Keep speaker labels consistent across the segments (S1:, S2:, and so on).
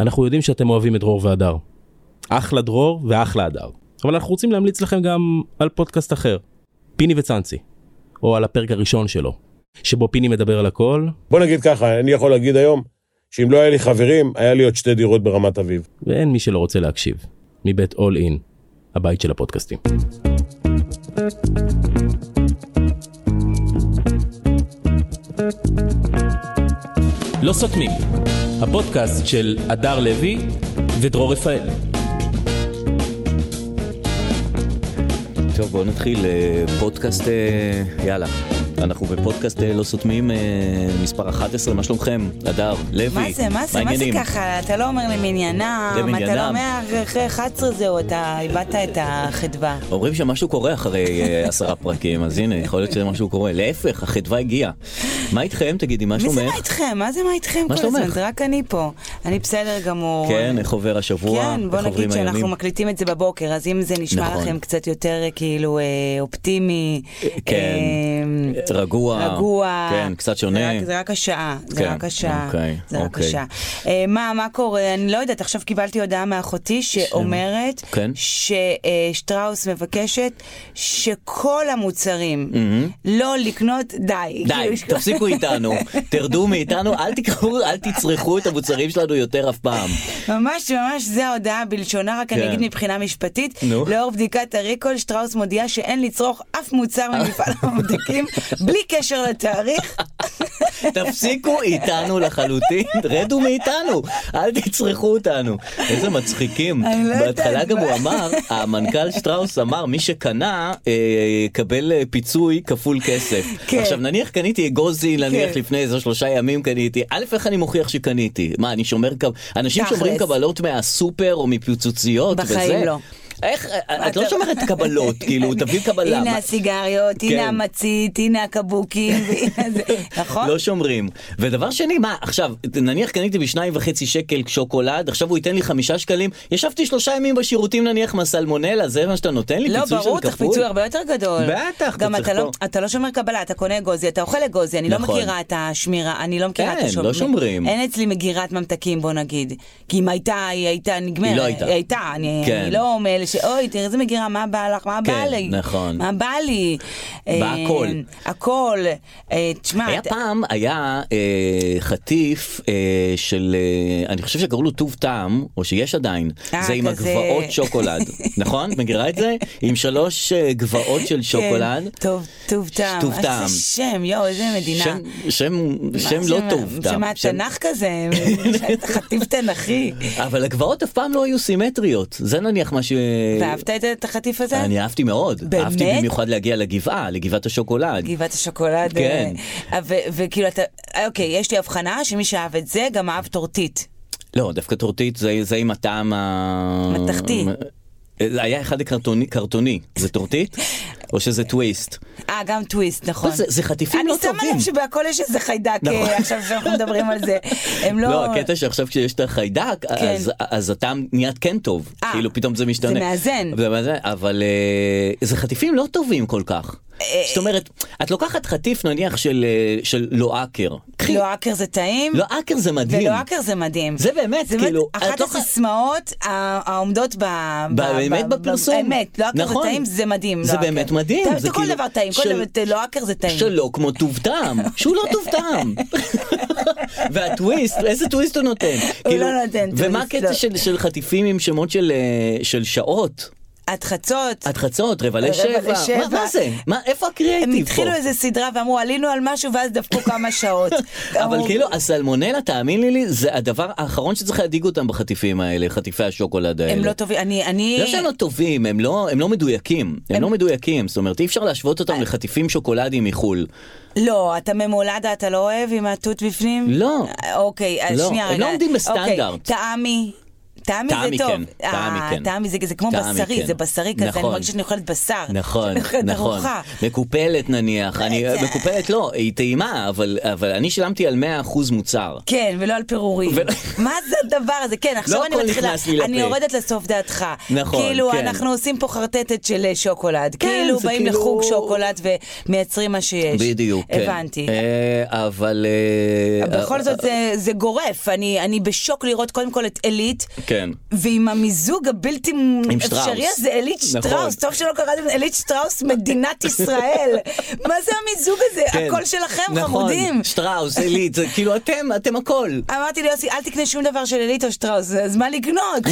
S1: אנחנו יודעים שאתם אוהבים את דרור והדר. אחלה דרור ואחלה הדר. אבל אנחנו רוצים להמליץ לכם גם על פודקאסט אחר, פיני וצאנצי, או על הפרק הראשון שלו, שבו פיני מדבר על הכל,
S2: בוא נגיד ככה, אני יכול להגיד היום, שאם לא היה לי חברים, היה לי עוד שתי דירות ברמת אביב.
S1: ואין מי שלא רוצה להקשיב. מבית All In, הבית של הפודקאסטים. לא סותמים, הפודקאסט של הדר לוי ודרור רפאל.
S3: טוב, בואו נתחיל אה, פודקאסט, אה, יאללה. אנחנו בפודקאסט אה, לא סותמים, אה, מספר 11, מה שלומכם? הדר, לוי,
S4: מה זה, מה זה, מה זה
S3: העניינים?
S4: ככה? אתה לא אומר למניינם, אתה
S3: למניינם.
S4: לא אומר אחרי 11 זהו, אתה איבדת את החדווה.
S3: אומרים שמשהו קורה אחרי אה, עשרה פרקים, אז הנה, יכול להיות שמשהו קורה. להפך, החדווה הגיעה. מה איתכם, תגידי, מה
S4: מי זה מה
S3: שלומך?
S4: איתכם? מה זה מה איתכם
S3: מה
S4: כל הזמן?
S3: שלומך?
S4: זה רק אני פה. אני בסדר גמור.
S3: כן, איך עובר השבוע?
S4: כן, בוא
S3: איך עוברים
S4: נגיד שאנחנו
S3: הימים?
S4: מקליטים את זה בבוקר, אז אם זה נשמע
S3: נכון.
S4: לכם קצת יותר אה, כאילו אה, אופטימי,
S3: כן.
S4: אה,
S3: רגוע.
S4: רגוע,
S3: כן, קצת שונה.
S4: זה רק- זה רק השעה, זה
S3: כן,
S4: רק השעה,
S3: אוקיי,
S4: זה רק
S3: אוקיי.
S4: השעה. אה, מה, מה קורה? אני לא יודעת, עכשיו קיבלתי הודעה מאחותי שאומרת
S3: כן.
S4: ששטראוס מבקשת שכל המוצרים לא לקנות די.
S3: די,
S4: כאילו, ש-
S3: תפסיקו איתנו, תרדו מאיתנו, אל תיקחו, אל תצרכו את המוצרים שלנו יותר אף פעם.
S4: ממש ממש זה ההודעה בלשונה, רק
S3: כן.
S4: אני אגיד מבחינה משפטית,
S3: נו.
S4: לאור בדיקת הריקול, שטראוס מודיעה שאין לצרוך אף מוצר ממפעל הממתקים, בלי קשר לתאריך.
S3: תפסיקו איתנו לחלוטין, רדו מאיתנו, אל תצרכו אותנו. איזה מצחיקים.
S4: אני לא יודעת
S3: בהתחלה גם
S4: מה.
S3: הוא אמר, המנכ"ל שטראוס אמר, מי שקנה אה, יקבל אה, פיצוי כפול כסף.
S4: כן.
S3: עכשיו נניח קניתי אגוזי, נניח
S4: כן.
S3: לפני איזה שלושה ימים קניתי, א' איך אני מוכיח שקניתי? מה, אני שומר קב... אנשים
S4: תכלס.
S3: שומרים קבלות מהסופר או מפיצוציות וזה?
S4: בחיים לא.
S3: איך, את לא שומרת קבלות, כאילו, תביא קבלה.
S4: הנה
S3: מה-
S4: הסיגריות, הנה
S3: כן.
S4: המצית, הנה הקבוקים, והנה זה, נכון?
S3: לא שומרים. ודבר שני, מה, עכשיו, נניח קניתי בשניים וחצי שקל שוקולד, עכשיו הוא ייתן לי חמישה שקלים, ישבתי שלושה ימים בשירותים נניח מהסלמונלה, זה מה שאתה נותן לי?
S4: לא,
S3: פיצוי של
S4: ברור, צריך
S3: כפול?
S4: פיצוי הרבה יותר גדול.
S3: בטח,
S4: גם
S3: אתה
S4: אתה
S3: צריך
S4: לא,
S3: פה.
S4: אתה לא שומר קבלה, אתה קונה אגוזי, אתה אוכל אגוזי, אני לא
S3: נכון.
S4: מכירה את השמירה, אני לא מכירה את
S3: אין,
S4: השומר.
S3: לא שומרים.
S4: אין אצלי מגירת ממתקים, בוא נגיד. כי אם הייתה, היא הייתה נגמרת.
S3: היא לא הייתה.
S4: היא הייתה, אני
S3: כן.
S4: אני לא מאלה ש... אוי, תראה איזה מגירה, מה בא לך, מה בא
S3: כן,
S4: לי?
S3: נכון.
S4: מה בא לי? אה,
S3: הכל.
S4: הכל. אה, תשמע,
S3: היה
S4: אתה-
S3: פעם, היה אה, חטיף אה, של, אה, אני חושב שקראו לו טוב טעם, או שיש עדיין,
S4: אה,
S3: זה עם
S4: כזה-
S3: הגבעות שוקולד, נכון? מכירה את זה? עם שלוש אה, גבעות של שוקולד.
S4: כן, טוב, טוב טעם.
S3: טוב טעם.
S4: איזה שם, יואו, איזה מדינה.
S3: שם, שם, שם לא טוב,
S4: שם
S3: טעם.
S4: מהתנ"ך כזה, חטיף תנ"כי.
S3: אה, אבל הגבעות אף פעם לא היו סימטריות, זה נניח מה ש...
S4: ואהבת את- את החטיף הזה?
S3: אני אהבתי מאוד.
S4: באמת?
S3: אהבתי במיוחד להגיע לגבעה, לגבעת השוקולד.
S4: גבעת השוקולד.
S3: כן.
S4: אה, ו- וכאילו אתה, אה, אוקיי, יש לי הבחנה שמי שאהב את זה גם אהב טורטית.
S3: לא, דווקא טורטית זה, זה עם הטעם ה... אה,
S4: מתכתי.
S3: היה אחד קרטוני, קרטוני, זה טורטית? או שזה טוויסט?
S4: אה, גם טוויסט, נכון.
S3: זה- זה חטיפים לא
S4: אני שמה
S3: טובים.
S4: לב שבהכל יש איזה חיידק,
S3: נכון.
S4: אה, עכשיו שאנחנו מדברים על זה. הם לא...
S3: לא, הקטע שעכשיו כשיש את החיידק,
S4: כן.
S3: אז, אז הטעם נהיה כן טוב.
S4: אה,
S3: כאילו פתאום זה משתנה.
S4: זה מאזן.
S3: זה מאזן, אבל אה, זה חטיפים לא טובים כל כך.
S4: אה,
S3: זאת אומרת, את לוקחת חטיף נניח של, אה, של לואקר. קחי,
S4: לואקר לא זה טעים,
S3: לואקר זה לא מדהים.
S4: ולואקר זה מדהים.
S3: זה באמת,
S4: זה באמת
S3: כאילו,
S4: אחת
S3: את לא ח-
S4: הסיסמאות ה- העומדות ב... ב-
S3: באמת
S4: ב- ב-
S3: בפרסום.
S4: באמת, לואקר זה
S3: נכון.
S4: טעים, זה מדהים.
S3: זה
S4: לואקר.
S3: באמת מדהים,
S4: אתה-
S3: זה
S4: זה כל
S3: כאילו-
S4: דבר טעים, כל
S3: של-
S4: דבר, לואקר זה טעים.
S3: שלא כמו טוב טעם, שהוא לא טוב טעם. והטוויסט, איזה טוויסט הוא נותן? כאילו,
S4: הוא לא נותן
S3: ומה
S4: טוויסט,
S3: הקטע
S4: לא.
S3: של, של חטיפים עם שמות של, אה, של שעות?
S4: עד חצות.
S3: עד חצות, רבע
S4: רבע
S3: לשבע?
S4: לשבע.
S3: מה, מה זה? מה, איפה
S4: הם
S3: הקריאייטיב פה?
S4: התחילו איזה סדרה ואמרו עלינו על משהו ואז דפקו כמה שעות.
S3: אבל
S4: אמרו,
S3: כאילו הסלמונלה, תאמין לי, לי, זה הדבר האחרון שצריך להדאיג אותם בחטיפים האלה, חטיפי השוקולד האלה.
S4: הם לא טובים, אני, אני,
S3: אה, לא שהם לא טובים, הם לא, הם לא מדויקים, הם, לא מדויקים, זאת אומרת אי אפשר להשוות
S4: אה.
S3: אותם לחטיפים שוקולדים מחול.
S4: לא, אתה ממולדה, אתה לא אוהב עם התות בפנים?
S3: לא.
S4: אוקיי, אז
S3: לא,
S4: שנייה
S3: הם
S4: רגע.
S3: לא עומדים בסטנדרט.
S4: אוקיי, טעמי, טעמי זה
S3: טעמי
S4: טוב.
S3: כן,
S4: אה,
S3: טעמי כן.
S4: טעמי זה זה כמו
S3: טעמי
S4: בשרי,
S3: כן.
S4: זה בשרי כזה, אני
S3: נכון.
S4: מרגישה שאני אוכלת בשר.
S3: נכון,
S4: שאני אוכלת
S3: נכון.
S4: ארוחה. כן.
S3: מקופלת נניח, אני,
S4: זה-
S3: מקופלת לא, היא טעימה, אבל, אבל אני שילמתי על 100% מוצר.
S4: כן, ולא על פירורים.
S3: ולא-
S4: מה זה הדבר הזה? כן, עכשיו
S3: לא
S4: אני
S3: הכל
S4: מתחילה,
S3: נכנס לי לפה.
S4: אני יורדת לסוף דעתך.
S3: נכון,
S4: כאילו,
S3: כן.
S4: אנחנו עושים פה חרטטת של אה, שוקולד.
S3: כן,
S4: כאילו,
S3: זה
S4: באים
S3: כאילו-
S4: לחוג שוקולד ומייצרים מה שיש.
S3: בדיוק, כן.
S4: הבנתי.
S3: אה, אבל... אה,
S4: בכל
S3: אה,
S4: זאת זה- זה גורף, אני אני בשוק לראות קודם כל את אלית,
S3: כן.
S4: ועם המיזוג הבלתי
S3: עם שטראוס.
S4: אפשרי הזה, אלית
S3: נכון.
S4: שטראוס, טוב שלא קראתם אלית שטראוס מדינת ישראל. מה זה המיזוג הזה?
S3: כן.
S4: הכל שלכם,
S3: נכון,
S4: חמודים.
S3: שטראוס, עילית, זה כאילו אתם, אתם הכל.
S4: אמרתי ליוסי, אל תקנה שום דבר של אליטו שטראוס, אז מה לקנות?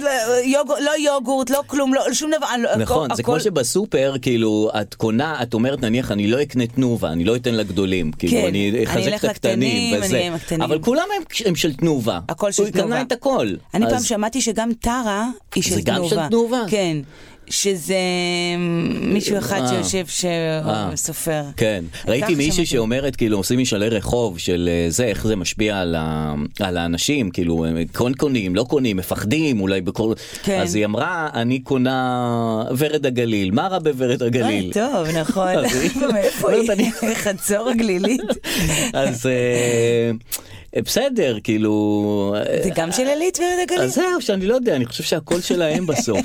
S4: לא, יוגו- לא יוגורט, לא כלום, לא, שום דבר. אני לא-
S3: נכון,
S4: הכל-
S3: זה כמו
S4: הכל-
S3: שבסופר, כאילו, את קונה, את אומרת, נניח, אני לא אקנה תנובה, אני לא אתן לגדולים.
S4: כן,
S3: כאילו, אני
S4: אני
S3: אחזק
S4: אלך
S3: את הקטנים
S4: לקטנים, אני
S3: וזה.
S4: אהיה עם הקטנים.
S3: אבל כולם הם- הם של תנובה.
S4: הכל של
S3: הוא
S4: תנובה.
S3: קנה את הכל.
S4: אני פעם
S3: אז-
S4: שמעתי שגם טרה היא של
S3: זה גם
S4: תנובה.
S3: של תנובה?
S4: כן. שזה מישהו אחד
S3: אה.
S4: שיושב
S3: אה.
S4: שסופר.
S3: כן,
S4: ככה
S3: ראיתי מישהי
S4: שמעתי.
S3: שאומרת כאילו עושים משאלי רחוב של אה, זה, איך זה משפיע על, ה... על האנשים, כאילו הם כן קונים, לא קונים, מפחדים, אולי בכל...
S4: כן.
S3: אז היא אמרה, אני קונה ורד הגליל, מה רע בוורד הגליל?
S4: אוי, טוב, נכון.
S3: אז היא-
S4: מאיפה
S3: אומרת, אני-
S4: היא? חצור הגלילית.
S3: אז אה, אה, בסדר, כאילו... אה,
S4: זה גם של עילית ורד הגליל?
S3: אז זהו, שאני לא יודע, אני חושב שהקול שלהם בסוף.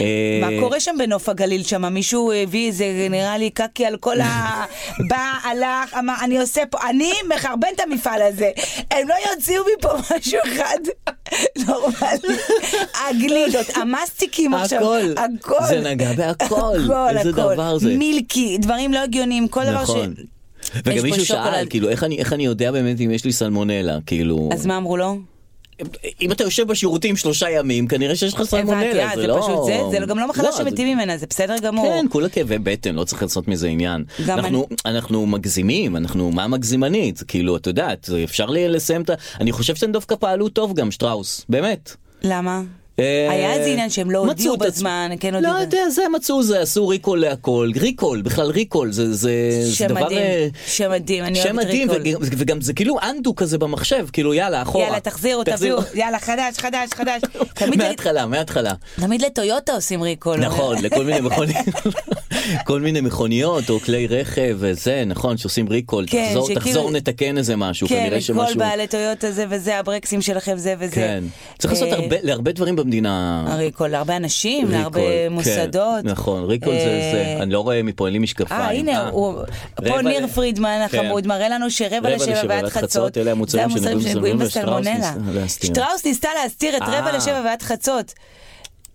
S3: אה,
S4: מה קורה שם בנוף הגליל שם? מישהו הביא איזה, נראה לי, קקי על כל ה... בא, הלך, אמר, אני עושה פה, אני מחרבן את המפעל הזה. הם לא יוציאו מפה משהו אחד נורמלי. הגלילות, המסטיקים עכשיו.
S3: הכל.
S4: הכל.
S3: זה נגע בהכל.
S4: הכל,
S3: איזה
S4: הכל.
S3: דבר זה.
S4: מילקי, דברים לא הגיוניים, כל דבר ש...
S3: נכון.
S4: יש
S3: וגם
S4: פה
S3: מישהו
S4: שוקולד.
S3: שאל, כאילו, איך אני, איך אני יודע באמת אם יש לי סלמונלה, כאילו...
S4: אז מה אמרו לו?
S3: אם אתה יושב בשירותים שלושה ימים, כנראה שיש לך
S4: הבנתי,
S3: סלמונלה,
S4: אה,
S3: זה לא...
S4: פשוט זה, זה גם לא מחלה
S3: זה-
S4: שמתים ממנה, זה בסדר גמור.
S3: כן, כולה כאבי בטן, לא צריך לעשות מזה עניין.
S4: גם
S3: אנחנו, אנחנו מגזימים, אנחנו, מה מגזימנית? כאילו, את יודעת, אפשר לי לסיים את ה... אני חושב שהם דווקא פעלו טוב גם, שטראוס, באמת.
S4: למה?
S3: אה,
S4: היה איזה עניין שהם לא
S3: מצאו
S4: הודיעו
S3: את עצמם.
S4: בזמן, כן
S3: לא
S4: הודיעו.
S3: יודע, זה מצאו, זה עשו ריקול להכל, ריקול, בכלל ריקול, זה, זה, זה
S4: שם
S3: דבר... אה,
S4: מדהים, שם מדהים, אני
S3: שם
S4: אוהבת
S3: מדהים,
S4: ריקול.
S3: וגם- וגם זה כאילו אנדו כזה במחשב, כאילו יאללה, אחורה.
S4: יאללה, תחזירו, תביאו, יאללה, חדש, חדש, חדש. תמיד ל-
S3: מההתחלה, מההתחלה.
S4: תמיד לטויוטה עושים ריקול.
S3: נכון, לכל מיני מכוניות, כל מיני מכוניות או כלי רכב וזה, נכון, שעושים ריקול,
S4: כן,
S3: תחזור-
S4: שכאילו-
S3: תחזור נתקן איזה משהו,
S4: כן,
S3: כנראה
S4: כל
S3: שמשהו,
S4: בעלי טויוטה זה וזה, הברקסים שלכם זה וזה.
S3: כן, צריך לעשות
S4: אה,
S3: הרבה- להרבה דברים במדינה,
S4: הריקול, להרבה אנשים,
S3: ריקול,
S4: להרבה
S3: כן,
S4: מוסדות.
S3: נכון, ריקול זה
S4: אה,
S3: זה, אני לא רואה מפה, אין לי משקפיים,
S4: אה, הנה, הוא- פה
S3: רבע ל-
S4: ניר פרידמן
S3: כן.
S4: החמוד מראה לנו שרבע לשבע ועד חצות,
S3: אלה
S4: זה
S3: המוצרים
S4: המוצרים
S3: שנגועים
S4: שנגועים
S3: בסלמונלה,
S4: בסלמונלה.
S3: ושטראוס ניסה להסתיר.
S4: שטראוס ניסתה להסתיר את
S3: אה.
S4: רבע לשבע ועד חצות.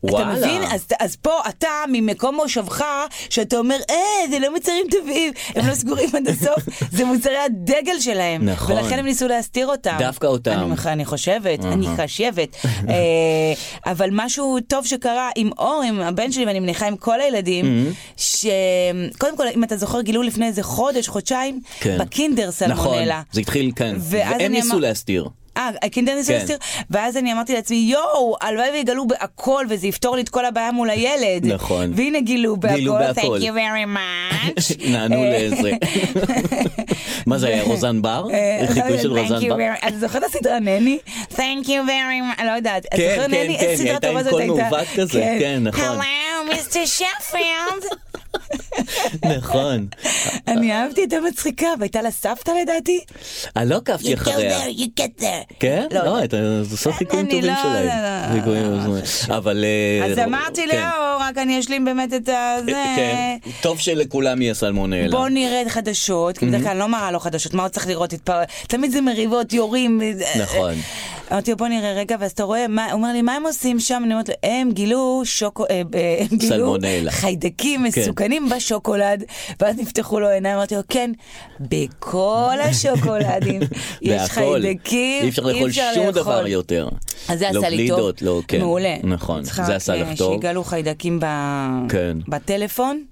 S4: אתה
S3: וואלה.
S4: מבין? אז, אז פה אתה ממקום מושבך, שאתה אומר, אה, זה לא מוצרים טבעיים, הם לא סגורים עד הסוף, זה מוצרי הדגל שלהם.
S3: נכון.
S4: ולכן הם ניסו להסתיר אותם.
S3: דווקא אותם.
S4: אני, מח- אני חושבת, אני חשבת. אה, אבל משהו טוב שקרה עם אור, עם הבן שלי, ואני מניחה עם כל הילדים,
S3: Mm-hmm.
S4: שקודם כל, אם אתה זוכר, גילו לפני איזה חודש, חודשיים,
S3: כן.
S4: בקינדר סלמונלה.
S3: נכון, זה התחיל, כן,
S4: ואז אני
S3: והם ניסו
S4: אמר-
S3: להסתיר,
S4: אה, הקינדר ניסו
S3: כן.
S4: להסתיר? ואז אני אמרתי לעצמי, יואו, הלוואי ויגלו בהכל, וזה יפתור לי את כל הבעיה מול הילד.
S3: נכון.
S4: והנה גילו בהכל.
S3: גילו בהכל.
S4: Thank you very much.
S3: נענו
S4: אה,
S3: לזה, מה זה היה, רוזן בר?
S4: אה, לא
S3: חיקוי
S4: יודעת,
S3: של
S4: thank
S3: רוזן
S4: you
S3: בר?
S4: very- את זוכרת את הסדרה נני? Thank you very much, לא יודעת. את
S3: כן,
S4: זוכרת
S3: כן,
S4: נני?
S3: כן,
S4: איזה
S3: היא
S4: סדרה
S3: הייתה עם
S4: טובה זאת
S3: קול
S4: הייתה.
S3: מעוות כזה, כן, נכון.
S4: Hello, מיסטר שפילד.
S3: נכון,
S4: אני אהבתי, הייתה מצחיקה, והייתה לה סבתא לדעתי.
S3: אני לא
S4: You
S3: עקבתי
S4: go
S3: אחריה.
S4: there, you get there.
S3: כן?
S4: לא,
S3: לא,
S4: לא.
S3: אתה אתה עושה חיקויים
S4: אני
S3: טובים
S4: לא-
S3: שלהם.
S4: לא, לא,
S3: חיקויים,
S4: לא,
S3: אז- אבל... אה,
S4: אז אמרתי לא,
S3: כן.
S4: לאור, רק אני אשלים באמת את
S3: אה,
S4: הזה.
S3: כן. טוב שלכולם יהיה סלמונלה.
S4: בוא נראה את החדשות, כי
S3: Mm-hmm.
S4: בדרך כלל אני לא מראה לו חדשות, מה עוד צריך לראות? התפר- תמיד זה מריבות, יורים. אה,
S3: נכון.
S4: אמרתי לו בוא נראה רגע, ואז אתה רואה, מה- הוא אומר לי מה הם עושים שם? אני אומרת לו, הם גילו שוקו, אה, אה, הם גילו
S3: סלמונלה. כן.
S4: חיידקים מסוכנים בשוקולד, ואז נפתחו לו העיניים, אמרתי לו כן, בכל השוקולדים יש
S3: והכל.
S4: חיידקים,
S3: אי אפשר לאכול שום דבר יותר.
S4: אז זה
S3: לא
S4: עשה לי טוב,
S3: גלידות, לא, כן.
S4: מעולה. אה,
S3: נכון,
S4: צריכה
S3: זה עשה
S4: רק,
S3: לך כן.
S4: אה,
S3: טוב.
S4: שיגלו חיידקים ב...
S3: כן.
S4: בטלפון.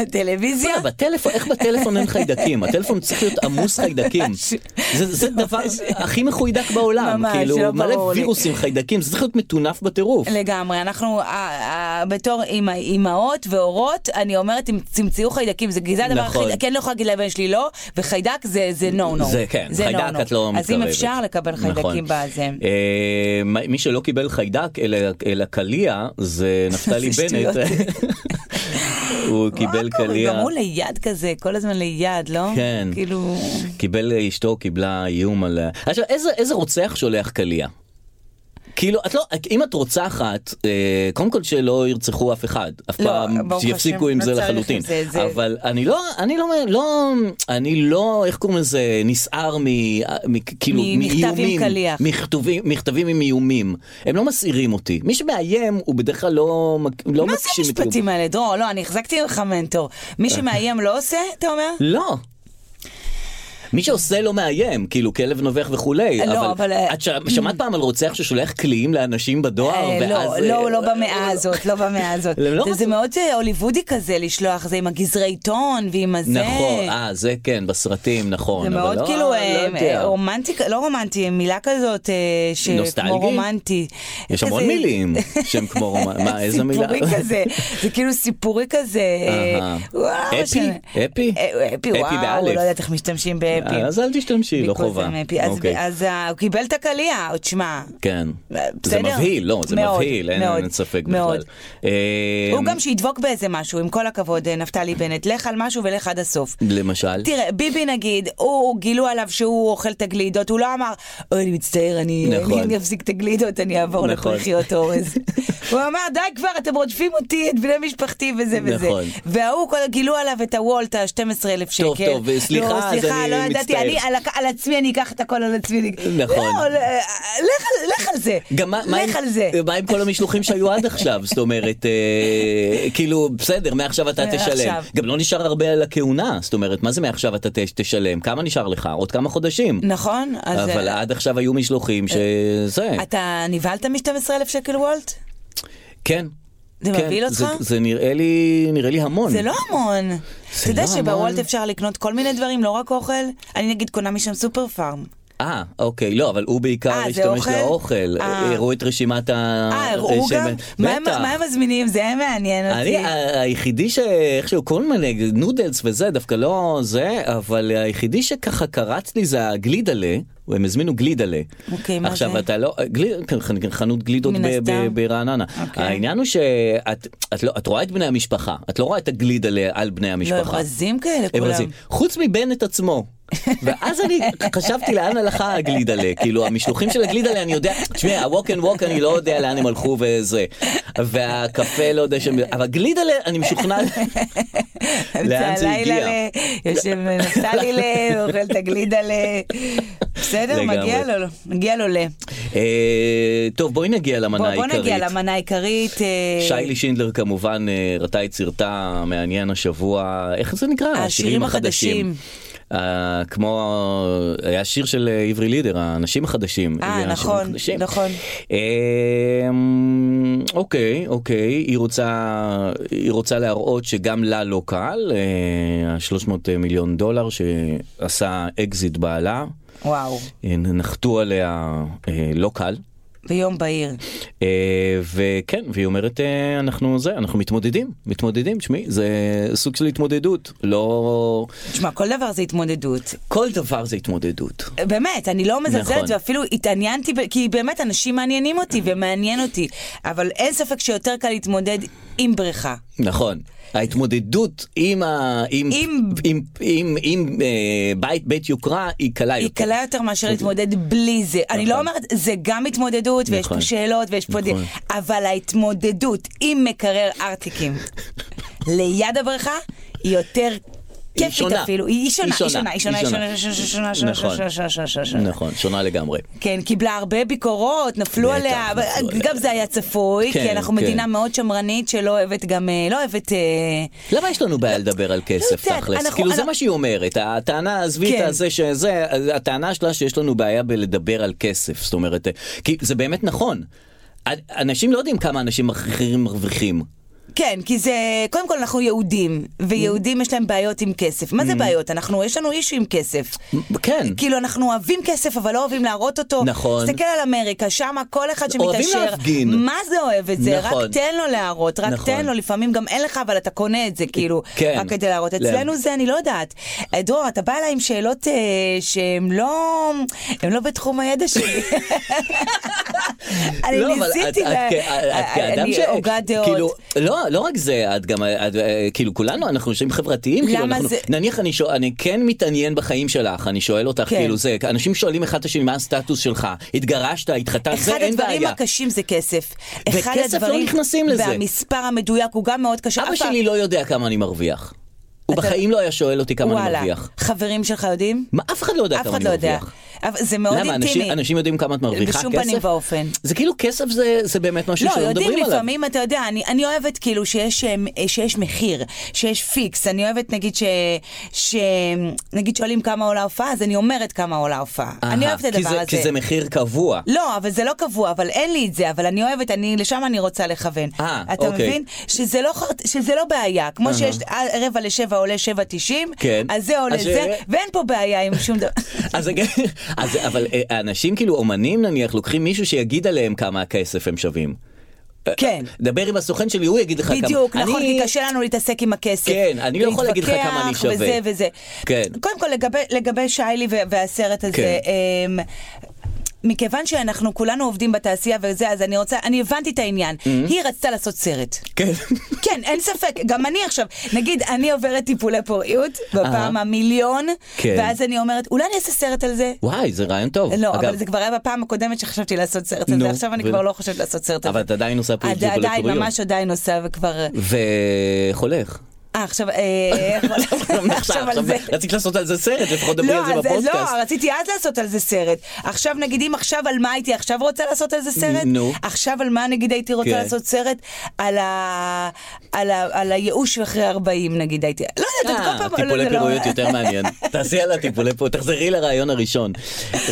S4: בטלוויזיה.
S3: בוא'נה, בטלפון, איך בטלפון אין חיידקים? הטלפון צריך להיות עמוס חיידקים.
S4: ממש.
S3: זה זה דבר הכי מחוידק בעולם.
S4: ממש, לא
S3: כאילו,
S4: ברור
S3: מלא
S4: לי. לא,
S3: וירוסים, חיידקים, זה צריך להיות מטונף בטירוף.
S4: לגמרי, אנחנו אה, אה, בתור אימא- אימהות והורות, אני אומרת, "אם תמצאו חיידקים, זה גזע הדבר
S3: נכון.
S4: הכי, כן, לא יכולה להגיד לבן שלי לא, וחיידק זה- זה נו נו.
S3: זה כן, חיידק את לא מתקרבת.
S4: אז אם אפשר לקבל חיידקים
S3: נכון.
S4: בזה.
S3: אה, מ- מי שלא קיבל חיידק אלא- אלא קליע זה נפתלי
S4: זה
S3: בנט. הוא קיבל
S4: וואו, גם
S3: קליע.
S4: הוא ליד כזה, כל הזמן ליד, לא?
S3: כן.
S4: כאילו...
S3: קיבל אשתו קיבלה איום על... ה- עכשיו איזה, איזה רוצח שולח קליע? כאילו את לא אם את רוצחת אה, קודם כל שלא ירצחו אף אחד אף
S4: לא,
S3: פעם
S4: ברוך
S3: שיפסיקו
S4: השם,
S3: עם
S4: לא
S3: זה
S4: צריך עם
S3: לחלוטין
S4: זה, זה-
S3: אבל אני לא אני לא לא אני לא איך קוראים לזה נסער מ, מ כאילו
S4: ממכתב עם
S3: מאיומים
S4: קליע.
S3: מכתובים מכתבים עם איומים הם לא מסעירים אותי מי שמאיים הוא בדרך כלל לא מק- לא
S4: מה זה
S3: מגשים את
S4: המשפטים האלה, דרור? לא, אני החזקתי ממך מנטור. מי שמאיים לא עושה, אתה אומר?
S3: לא. מי שעושה לא מאיים, כאילו כלב נובח וכולי,
S4: לא, אבל, אה,
S3: את ש... שמעת פעם על רוצח ששולח קליעים לאנשים בדואר?
S4: אה, לא,
S3: ואז,
S4: לא,
S3: אה,
S4: לא במאה הזאת, לא במאה הזאת.
S3: לא, לא
S4: זה- זה
S3: רצו-
S4: מאוד אה, הוליוודי כזה לשלוח זה עם הגזרי עיתון ועם הזה.
S3: נכון, אה, זה כן, בסרטים, נכון.
S4: זה
S3: אבל
S4: מאוד
S3: לא,
S4: כאילו
S3: לא
S4: אה,
S3: יודע.
S4: אה, רומנטי, לא רומנטי, מילה כזאת אה, ש-
S3: נוסטלגי?
S4: כמו רומנטי.
S3: יש המון
S4: כזה-
S3: מילים שהם כמו רומנטי, מה, איזה מילה?
S4: סיפורי כזה, זה כאילו סיפורי כזה. אה,
S3: אהה.
S4: וואו,
S3: אפי?
S4: שאני-
S3: אפי?
S4: אה, אפי,
S3: אפי
S4: וואו,
S3: באלף.
S4: לא יודעת איך משתמשים באפי.
S3: אה, אז אל תשתמשי, לא
S4: Because
S3: חובה.
S4: I'm happy. אז-
S3: אוקיי.
S4: אז אה, הוא קיבל את הקליע, עוד שמע.
S3: כן. זה
S4: בסדר?
S3: מבהיל, לא, זה
S4: מאוד,
S3: מבהיל, אין
S4: מאוד,
S3: אין ספק
S4: מאוד.
S3: בכלל. אה,
S4: הוא גם שידבוק באיזה משהו, עם כל הכבוד, אה, נפתלי בנט. לך על משהו ולך עד הסוף.
S3: למשל,
S4: תראה, ביבי נגיד, הוא, גילו עליו שהוא אוכל את הגלידות, הוא לא אמר, אוי, אני מצטער, אני
S3: נכון.
S4: אני- אני אפסיק את הגלידות, אני אעבור
S3: נכון.
S4: לפרחיות אורז. הוא אמר, די כבר, אתם רודפים אותי, את בני משפחתי וזה וזה.
S3: נכון.
S4: וההוא, כל- גילו עליו את הוולט, ה-12,000 שקל.
S3: טוב, טוב, סליחה,
S4: לא,
S3: אז
S4: סליחה,
S3: אני
S4: לא ידעתי,
S3: מצטער.
S4: אני על הכ- על עצמי, אני אקח את הכל על עצמי.
S3: נכון.
S4: לא, ל- לך על- לך על זה.
S3: גם מה, מה,
S4: לך
S3: עם,
S4: על זה.
S3: מה עם כל המשלוחים שהיו עד עכשיו? זאת אומרת, אה, כאילו, בסדר, מעכשיו אתה
S4: מעכשיו.
S3: תשלם. גם לא נשאר הרבה על הכהונה, זאת אומרת, מה זה מעכשיו אתה ת, תשלם? כמה נשאר לך? עוד כמה חודשים.
S4: נכון? אז,
S3: אבל
S4: אה,
S3: עד עכשיו היו משלוחים שזה.
S4: אתה נבהלת מ-12,000 שקל וולט?
S3: כן.
S4: זה
S3: כן,
S4: מבהיל
S3: זה,
S4: אותך?
S3: זה נראה לי, נראה לי המון.
S4: זה לא המון. אתה יודע
S3: לא
S4: שבוולט
S3: המון.
S4: אפשר לקנות כל מיני דברים, לא רק אוכל. אני נגיד קונה משם סופר פארם.
S3: אה, אוקיי, לא, אבל הוא בעיקר
S4: אה, זה
S3: השתמש
S4: אוכל?
S3: לאוכל.
S4: אה.
S3: הראו את רשימת ה...
S4: אה, הראו
S3: רשימת-
S4: גם? מה הם-
S3: בטח.
S4: מה הם מזמינים? זה היה מעניין
S3: אני אה,
S4: אותי.
S3: ה- היחידי שאיכשהו כל מיני נודלס וזה דווקא לא זה אבל היחידי שככה קרץ לי זה הגלידלה. הם הזמינו גלידלה.
S4: אוקיי, מה
S3: עכשיו
S4: זה?
S3: אתה לא, גליד, כן, חנ- חנות גלידות
S4: מן
S3: ב-
S4: הסתם.
S3: ב- ברעננה.
S4: אוקיי.
S3: העניין הוא שאת את לא, את רואה את בני המשפחה, את לא רואה את הגלידלה על בני
S4: לא,
S3: המשפחה.
S4: הם רזים כאלה
S3: הם
S4: כולם.
S3: רזים. חוץ מבנט עצמו. ואז אני חשבתי לאן הלכה הגלידלה, כאילו המשלוחים של הגלידלה אני יודע, תשמע, הווק אנד ווק אני לא יודע לאן הם הלכו וזה, והקפה לא יודע שם, אבל גלידלה אני משוכנע לאן זה
S4: הלילה
S3: הגיע.
S4: ל- יושב נפתלי ל... אוכל את הגלידה ל... בסדר,
S3: לגמרי.
S4: מגיע לו, מגיע לו ל...
S3: אה, טוב בואי נגיע למנה
S4: בוא בוא נגיע
S3: העיקרית.
S4: למנה העיקרית. אה,
S3: שיילי שינדלר כמובן אה, ראתה את סרטה מעניין השבוע, איך זה נקרא?
S4: השירים
S3: אה, כמו, היה שיר של אה, עברי לידר, האנשים החדשים.
S4: אה,
S3: השירים
S4: נכון,
S3: החדשים.
S4: נכון.
S3: אמ, אוקיי, אוקיי, היא רוצה, היא רוצה להראות שגם לה לא קל, אה, ה-300 מיליון דולר שעשה אקזיט בעלה,
S4: וואו,
S3: אה, נחתו עליה אה, לא קל.
S4: ביום בהיר.
S3: אה, וכן, והיא אומרת, אה, אנחנו זה, אנחנו מתמודדים, מתמודדים, תשמעי, זה סוג של התמודדות, לא...
S4: תשמע, כל דבר זה התמודדות.
S3: כל דבר זה התמודדות.
S4: באמת, אני לא מזלזלת,
S3: נכון.
S4: ואפילו התעניינתי, ב- כי באמת אנשים מעניינים אותי ומעניין אותי, אבל אין ספק שיותר קל להתמודד עם בריכה.
S3: נכון. ההתמודדות עם, ה... עם...
S4: עם-
S3: עם... עם... עם אה, בית, בית יוקרה היא קלה
S4: היא
S3: יותר.
S4: קלה יותר מאשר להתמודד בלי זה. אני לא אומרת, זה גם התמודדות, ויש פה
S3: נכון.
S4: שאלות, ויש פה... די-
S3: נכון.
S4: אבל ההתמודדות עם מקרר ארטיקים ליד הבריכה, היא יותר...
S3: היא
S4: כיפית
S3: שונה.
S4: אפילו, היא שונה, היא שונה, היא שונה, היא שונה,
S3: היא
S4: היא שונה, היא שונה, היא
S3: נכון.
S4: שונה, היא שונה, היא שונה, היא שונה.
S3: נכון, שונה לגמרי.
S4: כן, קיבלה הרבה ביקורות, נפלו
S3: בטח,
S4: עליה, אבל
S3: נפלו עליה.
S4: גם זה היה צפוי, כי
S3: כן,
S4: אנחנו
S3: כן.
S4: מדינה מאוד שמרנית שלא אוהבת גם, אה, לא אוהבת... אה,
S3: למה יש לנו בעיה לדבר על כסף
S4: יודעת,
S3: תכלס?
S4: לא, כן, אנחנו-
S3: כאילו זה
S4: אנחנו-
S3: מה שהיא אומרת, הטענה עזבי
S4: כן.
S3: את הזה שזה, הטענה שלה שיש לנו בעיה בלדבר על כסף, זאת אומרת, כי זה באמת נכון. אנשים לא יודעים כמה אנשים אחרים מרוויחים.
S4: כן, כי זה, קודם כל אנחנו יהודים, ויהודים יש להם בעיות עם כסף.
S3: Mm-hmm.
S4: מה זה בעיות? אנחנו, יש לנו אישו עם כסף.
S3: כן.
S4: כאילו, אנחנו אוהבים כסף, אבל לא אוהבים להראות אותו.
S3: נכון.
S4: תסתכל על אמריקה, שם כל אחד שמתעשר.
S3: אוהבים להפגין.
S4: מה זה אוהב את זה?
S3: נכון.
S4: רק תן לו להראות, רק
S3: נכון.
S4: תן לו, לפעמים גם אין לך, אבל אתה קונה את זה, כאילו,
S3: כן.
S4: רק כדי להראות.
S3: לא.
S4: אצלנו זה, אני לא יודעת. אה, דרור, אתה בא אליי עם שאלות אה, שהן לא, הן לא בתחום הידע שלי. אני
S3: לא, אבל
S4: ניסיתי,
S3: את-
S4: לה-
S3: את כ- את כאדם
S4: אני
S3: ש-
S4: הוגת דעות.
S3: כאילו, לא, לא רק זה, את גם, את, אה, כאילו כולנו, אנחנו אנשים חברתיים, כאילו,
S4: למה
S3: אנחנו-
S4: זה-
S3: נניח אני שואל, אני כן מתעניין בחיים שלך, אני שואל אותך,
S4: כן.
S3: כאילו זה, אנשים שואלים אחד את השני מה הסטטוס שלך, התגרשת, התחתנת, זה
S4: אחד
S3: אין
S4: הדברים
S3: בעיה.
S4: הקשים זה כסף. אחד
S3: וכסף לא
S4: הדברים-
S3: נכנסים לזה.
S4: והמספר המדויק הוא גם מאוד קשה.
S3: אבא
S4: אף
S3: שלי לא יודע כמה אני מרוויח. הוא
S4: אתה-
S3: בחיים לא היה שואל אותי כמה אני
S4: וואלה.
S3: מרוויח.
S4: חברים שלך יודעים?
S3: מה, אף אחד לא יודע
S4: אף
S3: כמה
S4: אחד
S3: אני
S4: לא יודע.
S3: מרוויח.
S4: אבל זה מאוד
S3: למה? אנשים,
S4: אינטימי.
S3: אנשים יודעים כמה את מרוויחה כסף?
S4: בשום פנים ואופן.
S3: זה כאילו כסף זה, זה באמת משהו
S4: לא,
S3: שלא מדברים
S4: יודעים
S3: עליו.
S4: לפעמים, אתה יודע, אני, אני אוהבת כאילו שיש, אמ, שיש מחיר, שיש פיקס, אני אוהבת נגיד ש... ש... נגיד שואלים כמה עולה הופעה, אז אני אומרת כמה עולה הופעה. אני
S3: אהה,
S4: אוהבת את
S3: כי
S4: הדבר
S3: זה,
S4: הזה.
S3: כי זה מחיר קבוע.
S4: לא, אבל זה לא קבוע, אבל אין לי את זה, אבל אני אוהבת, אני, לשם אני רוצה לכוון.
S3: אה,
S4: אתה
S3: אוקיי.
S4: מבין? שזה לא, חרט- שזה לא בעיה, כמו
S3: אהה.
S4: שיש אה, רבע לשבע עולה שבע תשעים,
S3: כן.
S4: אז זה עולה
S3: אז
S4: זה,
S3: ש-
S4: ואין פה בעיה עם שום דבר.
S3: אז, זה כן- אז, אבל אה, אנשים כאילו אומנים נניח לוקחים מישהו שיגיד עליהם כמה הכסף הם שווים. אה,
S4: כן.
S3: דבר עם הסוכן שלי הוא יגיד לך כמה.
S4: בדיוק, נכון,
S3: אני-
S4: כי קשה לנו להתעסק עם הכסף.
S3: כן, אני לא יכול להגיד לך כמה אני שווה.
S4: להתווכח וזה וזה.
S3: כן.
S4: קודם כל, לגבי- לגבי שיילי ו- והסרט הזה, אמ, מכיוון שאנחנו כולנו עובדים בתעשייה וזה, אז אני רוצה, אני הבנתי את העניין.
S3: Mm-hmm.
S4: היא רצתה לעשות סרט.
S3: כן.
S4: כן, אין ספק, גם אני עכשיו, נגיד, אני עוברת טיפולי פוריות בפעם
S3: אהה.
S4: המיליון,
S3: כן.
S4: ואז אני אומרת, אולי אני אעשה סרט על זה?
S3: וואי זה רעיון טוב.
S4: לא,
S3: אגב,
S4: אבל זה כבר היה בפעם הקודמת שחשבתי לעשות סרט על
S3: נו,
S4: זה, עכשיו אני
S3: ו-
S4: כבר לא חושבת לעשות סרט על זה.
S3: אבל את עדיין עושה פה
S4: עד-
S3: טיפולי פוריות.
S4: עדיין, ממש עדיין עושה, וכבר...
S3: וחולך.
S4: אה, עכשיו, אה, עכשיו על זה.
S3: רצית לעשות על זה סרט לפחות דברי על זה
S4: לא, אז- אז
S3: בפודקאסט.
S4: לא, רציתי אז לעשות על זה סרט. עכשיו נגיד, אם עכשיו על מה הייתי עכשיו רוצה לעשות על זה סרט?
S3: נו.
S4: עכשיו על מה נגיד הייתי רוצה
S3: כן.
S4: לעשות סרט? על ה- על ה- על הייאוש אחרי 40 נגיד הייתי. לא יודעת, כל
S3: אה,
S4: פעם...
S3: טיפולי
S4: לא, לא, לא.
S3: פירויות יותר מעניין. תעשי על הטיפולי פירויות, תחזרי לרעיון הראשון.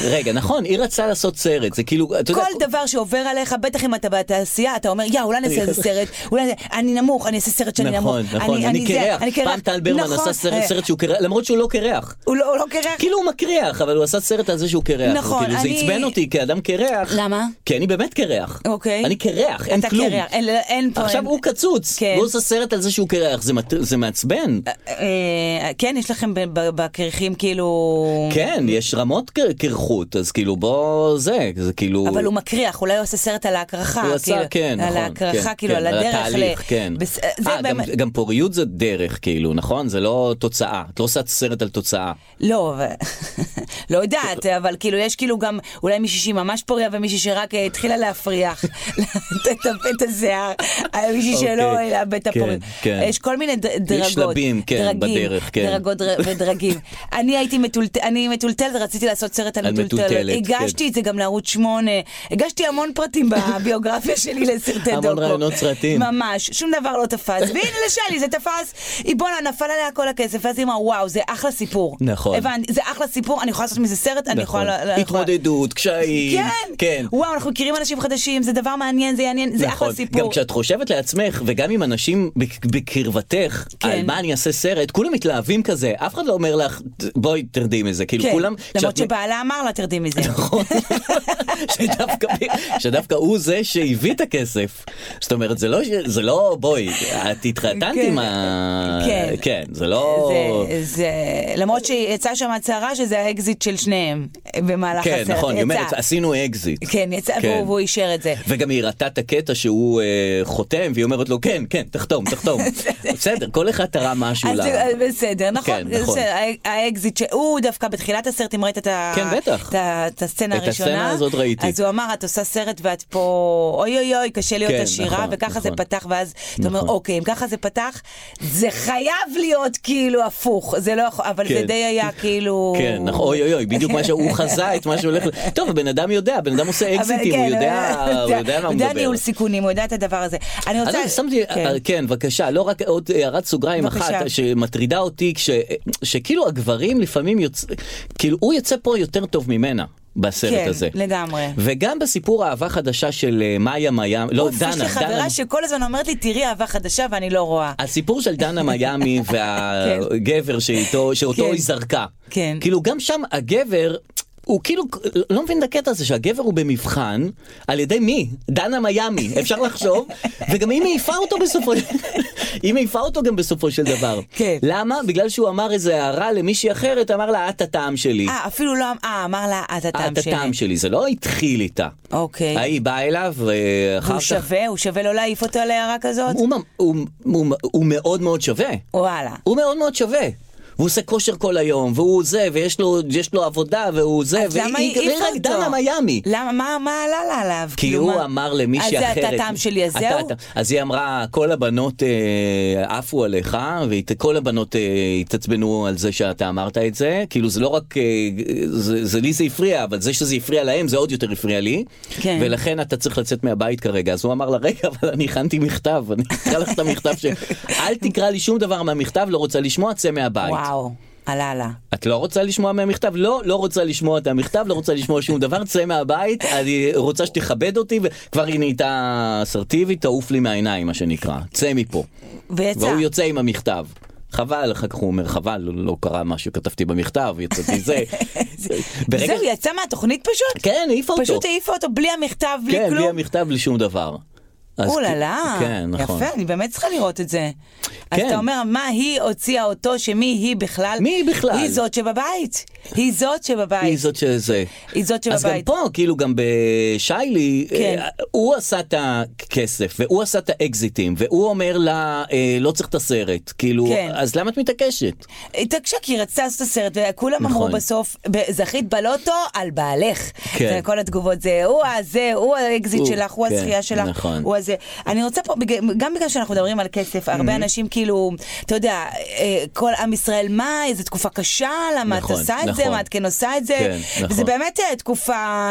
S3: רגע, נכון, היא רצתה לעשות סרט, זה כאילו, אתה יודע,
S4: כל דבר שעובר עליך, בטח אם אתה בתעשייה, אתה אומר, יא, אולי נעשה איזה סרט, אולי נעשה- אני נמוך, אני אעשה סרט שאני נמוך.
S3: נכון, נכון, אני
S4: זה,
S3: קרח.
S4: אני קרח.
S3: פעם טל ברמן
S4: נכון,
S3: עשה סרט-
S4: אה,
S3: סרט שהוא קרח, למרות שהוא לא קרח.
S4: הוא לא הוא לא קרח?
S3: כאילו הוא מקריח, אבל הוא עשה סרט על זה שהוא קרח.
S4: נכון,
S3: כאילו, זה
S4: אני-
S3: עצבן אותי כאדם קרח.
S4: למה?
S3: כי אני באמת קרח.
S4: אוקיי.
S3: אני קרח, אין
S4: אתה
S3: כלום.
S4: קרח, אין- אין פה...
S3: עכשיו
S4: אין-
S3: הוא קצוץ,
S4: כן.
S3: והוא עושה סרט על זה שהוא קרח, זה מת- זה מעצבן.
S4: אה, כן, יש לכם ב- ב- בקרחים כאילו...
S3: כן, יש רמות קר- קרחות, אז כאילו בוא זה, זה כאילו...
S4: אבל הוא מקריח, אולי הוא עושה סרט על ההקרחה.
S3: הוא עשה,
S4: כאילו,
S3: כן, נכון.
S4: על ההקרחה,
S3: כן,
S4: כאילו,
S3: כן,
S4: על הדרך.
S3: התהליך,
S4: ל-
S3: כן.
S4: בס-
S3: אה,
S4: זה
S3: גם-
S4: באמת...
S3: גם פוריות זה דרך, כאילו, נכון? זה לא תוצאה. את לא עושה סרט על תוצאה.
S4: לא, אבל- לא יודעת, אבל כאילו, יש כאילו גם אולי מישהי שהיא ממש פוריה ומישהי שרק אה, התחילה להפריח, לטפל את השיער, אה, מישהי
S3: אוקיי.
S4: שלא אה, לאבד את
S3: כן,
S4: הפוריה.
S3: כן.
S4: יש כל מיני ד- דרגות.
S3: שלבים, כן,
S4: דרגים,
S3: בדרך, כן.
S4: דרגות דר- ודרגים. אני הייתי מטולטלת, אני מטולטלת, רציתי לעשות סרט על
S3: על
S4: מטולטלת.
S3: מטולטלת,
S4: הגשתי את זה גם לערוץ 8, הגשתי המון פרטים בביוגרפיה שלי לסרטי
S3: המון
S4: דוקו.
S3: רעיונות סרטים.
S4: ממש, שום דבר לא תפס. והנה לשלי זה תפס. היא בואנה, נפל עליה כל הכסף, ואז היא אמרה, וואו, זה אחלה סיפור.
S3: נכון.
S4: הבנתי, זה אחלה סיפור, אני יכולה לעשות מזה סרט, אני יכולה... ל- ל- יכולה-
S3: התמודדות, קשיים.
S4: כן,
S3: כן.
S4: וואו, אנחנו מכירים אנשים חדשים, זה דבר מעניין, זה יעניין, זה
S3: נכון.
S4: אחלה סיפור.
S3: גם כשאת חושבת לעצמך, וגם עם אנשים בק- בקרבתך,
S4: כן.
S3: על מה אני אעשה סרט, כולם מתלהבים כזה, אף אחד לא אומר לך, בואי תרדי מזה, כאילו
S4: כן.
S3: כולם...
S4: למרות
S3: כשאת-
S4: שבעלה אמר לה, תרדי מזה.
S3: נכון. שדווקא, שדווקא הוא זה שהביא את הכסף. זאת אומרת, זה לא, ש- זה לא בואי, את התחתנת
S4: כן.
S3: עם ה...
S4: כן.
S3: כן, זה לא...
S4: זה, זה, למרות שיצאה שם הצהרה שזה האקזיט של שניהם במהלך
S3: כן,
S4: הסרט.
S3: נכון, היא אומרת,
S4: יצא.
S3: עשינו אקזיט.
S4: כן, יצא,
S3: כן.
S4: והוא- והוא אישר את זה.
S3: וגם היא ראתה את הקטע שהוא אה, חותם, והיא אומרת לו, כן, כן, תחתום, תחתום. בסדר, כל אחד תרם משהו
S4: אז
S3: ל...
S4: זה- בסדר, נכון,
S3: כן, נכון.
S4: בסדר, ה- האקזיט שהוא דווקא בתחילת הסרט, אם ראית את ה-
S3: כן, בטח.
S4: את ה- את הסצנה
S3: את
S4: הראשונה,
S3: הסצנה הזאת ראיתי.
S4: אז הוא אמר, את עושה סרט ואת פה, אוי אוי אוי, קשה להיות
S3: כן,
S4: עשירה,
S3: נכון,
S4: וככה זה
S3: נכון.
S4: פתח, ואז אתה אומר,
S3: נכון.
S4: אוקיי, אם ככה זה פתח, זה חייב להיות כאילו הפוך, זה לא יכול, אבל זה
S3: כן.
S4: די היה כאילו...
S3: כן, נכון, אוי אוי אוי, בדיוק מה שהוא חזה את מה שהולך... ל- טוב, הבן אדם יודע, הבן אדם עושה
S4: אבל
S3: אקזיטים, הוא
S4: כן,
S3: יודע הוא יודע מה הוא
S4: הוא יודע
S3: מדבר.
S4: ניהול סיכונים, הוא יודע את הדבר הזה. אני רוצה...
S3: אגב, שמתי,
S4: כן.
S3: אה, כן, בבקשה, לא רק עוד הערת סוגריים
S4: בבקשה.
S3: אחת שמטרידה אותי, כש- שכאילו הגברים לפעמים יוצא, כאילו הוא יוצא פה יותר טוב ממנה. בסרט
S4: כן,
S3: הזה.
S4: לגמרי.
S3: וגם בסיפור אהבה חדשה של אה, מאיה מיאמי, לא,
S4: אוף,
S3: דנה,
S4: יש לי
S3: דנה.
S4: חברה שכל הזמן אומרת לי, תראי אהבה חדשה ואני לא רואה.
S3: הסיפור של דנה מיאמי והגבר שאיתו, שאותו
S4: כן.
S3: היא זרקה.
S4: כן.
S3: כאילו גם שם הגבר, הוא כאילו, לא מבין את הקטע הזה שהגבר הוא במבחן, על ידי מי? דנה מיאמי, אפשר לחשוב, וגם היא מעיפה אותו בסופו, היא מעיפה אותו גם בסופו של דבר.
S4: כן.
S3: למה? בגלל שהוא אמר איזה הערה למישהי אחרת, אמר לה, את הטעם שלי.
S4: אה, אפילו לא, אה, אמר לה, את הטעם
S3: את
S4: שלי.
S3: הטעם שלי, זה לא התחיל איתה.
S4: אוקיי.
S3: ההיא באה אליו, ואחר
S4: הוא
S3: כך...
S4: שווה? הוא שווה לא להעיף אותו על הערה כזאת?
S3: הוא ממ- הוא- הוא- הוא מאוד מאוד שווה.
S4: וואלה.
S3: הוא מאוד מאוד שווה. והוא עושה כושר כל היום, והוא זה, ויש לו, יש לו עבודה, והוא זה,
S4: אז למה היא העיפה
S3: רק
S4: אותו?
S3: דנה מיאמי.
S4: למה, מה, מה עלה לה עליו?
S3: כי
S4: כאילו,
S3: הוא
S4: מה-
S3: אמר למישהי
S4: אז
S3: אחרת.
S4: זה הטעם שלי, אז
S3: אתה-
S4: זהו?
S3: אתה- אז היא אמרה, כל הבנות אה, עפו עליך, וכל הבנות אה, התעצבנו על זה שאתה אמרת את זה. כאילו זה לא רק, אה, זה, זה לי זה הפריע, אבל זה שזה הפריע להם, זה עוד יותר הפריע לי.
S4: כן.
S3: ולכן אתה צריך לצאת מהבית כרגע. אז הוא אמר לה, רגע, אבל אני הכנתי מכתב, אני אקרא לך את המכתב ש... אל תקרא לי שום דבר מהמכתב, לא רוצה לשמוע, צא מהבית.
S4: וואו, עלה לה.
S3: את לא רוצה לשמוע מהמכתב? לא, לא רוצה לשמוע את המכתב, לא רוצה לשמוע שום דבר, צא מהבית, אני רוצה שתכבד אותי, וכבר היא נהייתה אסרטיבית, תעוף לי מהעיניים, מה שנקרא. צא מפה.
S4: ויצא.
S3: והוא יוצא עם המכתב. חבל, אחר כך הוא אומר, חבל, לא, לא קרה מה שכתבתי במכתב, יצאתי זה. ברגע...
S4: זהו, יצא מהתוכנית פשוט?
S3: כן, העיפה אותו.
S4: פשוט העיפה אותו בלי המכתב, בלי
S3: כן, בלי
S4: כלום.
S3: המכתב, בלי שום דבר. אז
S4: אוללה,
S3: כ- כן, נכון.
S4: יפה, אני באמת צריכה לראות את זה. אז
S3: כן.
S4: אתה אומר, מה היא הוציאה אותו, שמי היא בכלל?
S3: מי היא בכלל?
S4: היא זאת שבבית. היא זאת שבבית.
S3: היא זאת שזה.
S4: היא זאת
S3: אז גם
S4: שבבית.
S3: פה, כאילו גם בשיילי,
S4: כן.
S3: אה, הוא עשה את הכסף, והוא עשה את האקזיטים, והוא אומר לה, אה, לא צריך את הסרט, כאילו,
S4: כן.
S3: אז למה את מתעקשת?
S4: התעקשה כי היא רצתה לעשות את הסרט, וכולם אמרו
S3: נכון.
S4: בסוף, "ב- זכית בלוטו על בעלך.
S3: כן.
S4: זה כל התגובות זה, הוא הזה, הוא האקזיט
S3: הוא,
S4: שלך, הוא
S3: כן,
S4: הזכייה שלך,
S3: נכון.
S4: הוא הזה. אני רוצה פה, בג- גם בגלל שאנחנו מדברים על כסף,
S3: Mm-hmm.
S4: הרבה אנשים כאילו, אתה יודע, אה, כל עם ישראל, מה, איזו תקופה קשה, למה את
S3: נכון,
S4: עושה את זה,
S3: נכון.
S4: מה את כן עושה את זה,
S3: כן,
S4: וזה
S3: נכון.
S4: באמת אה, תקופה...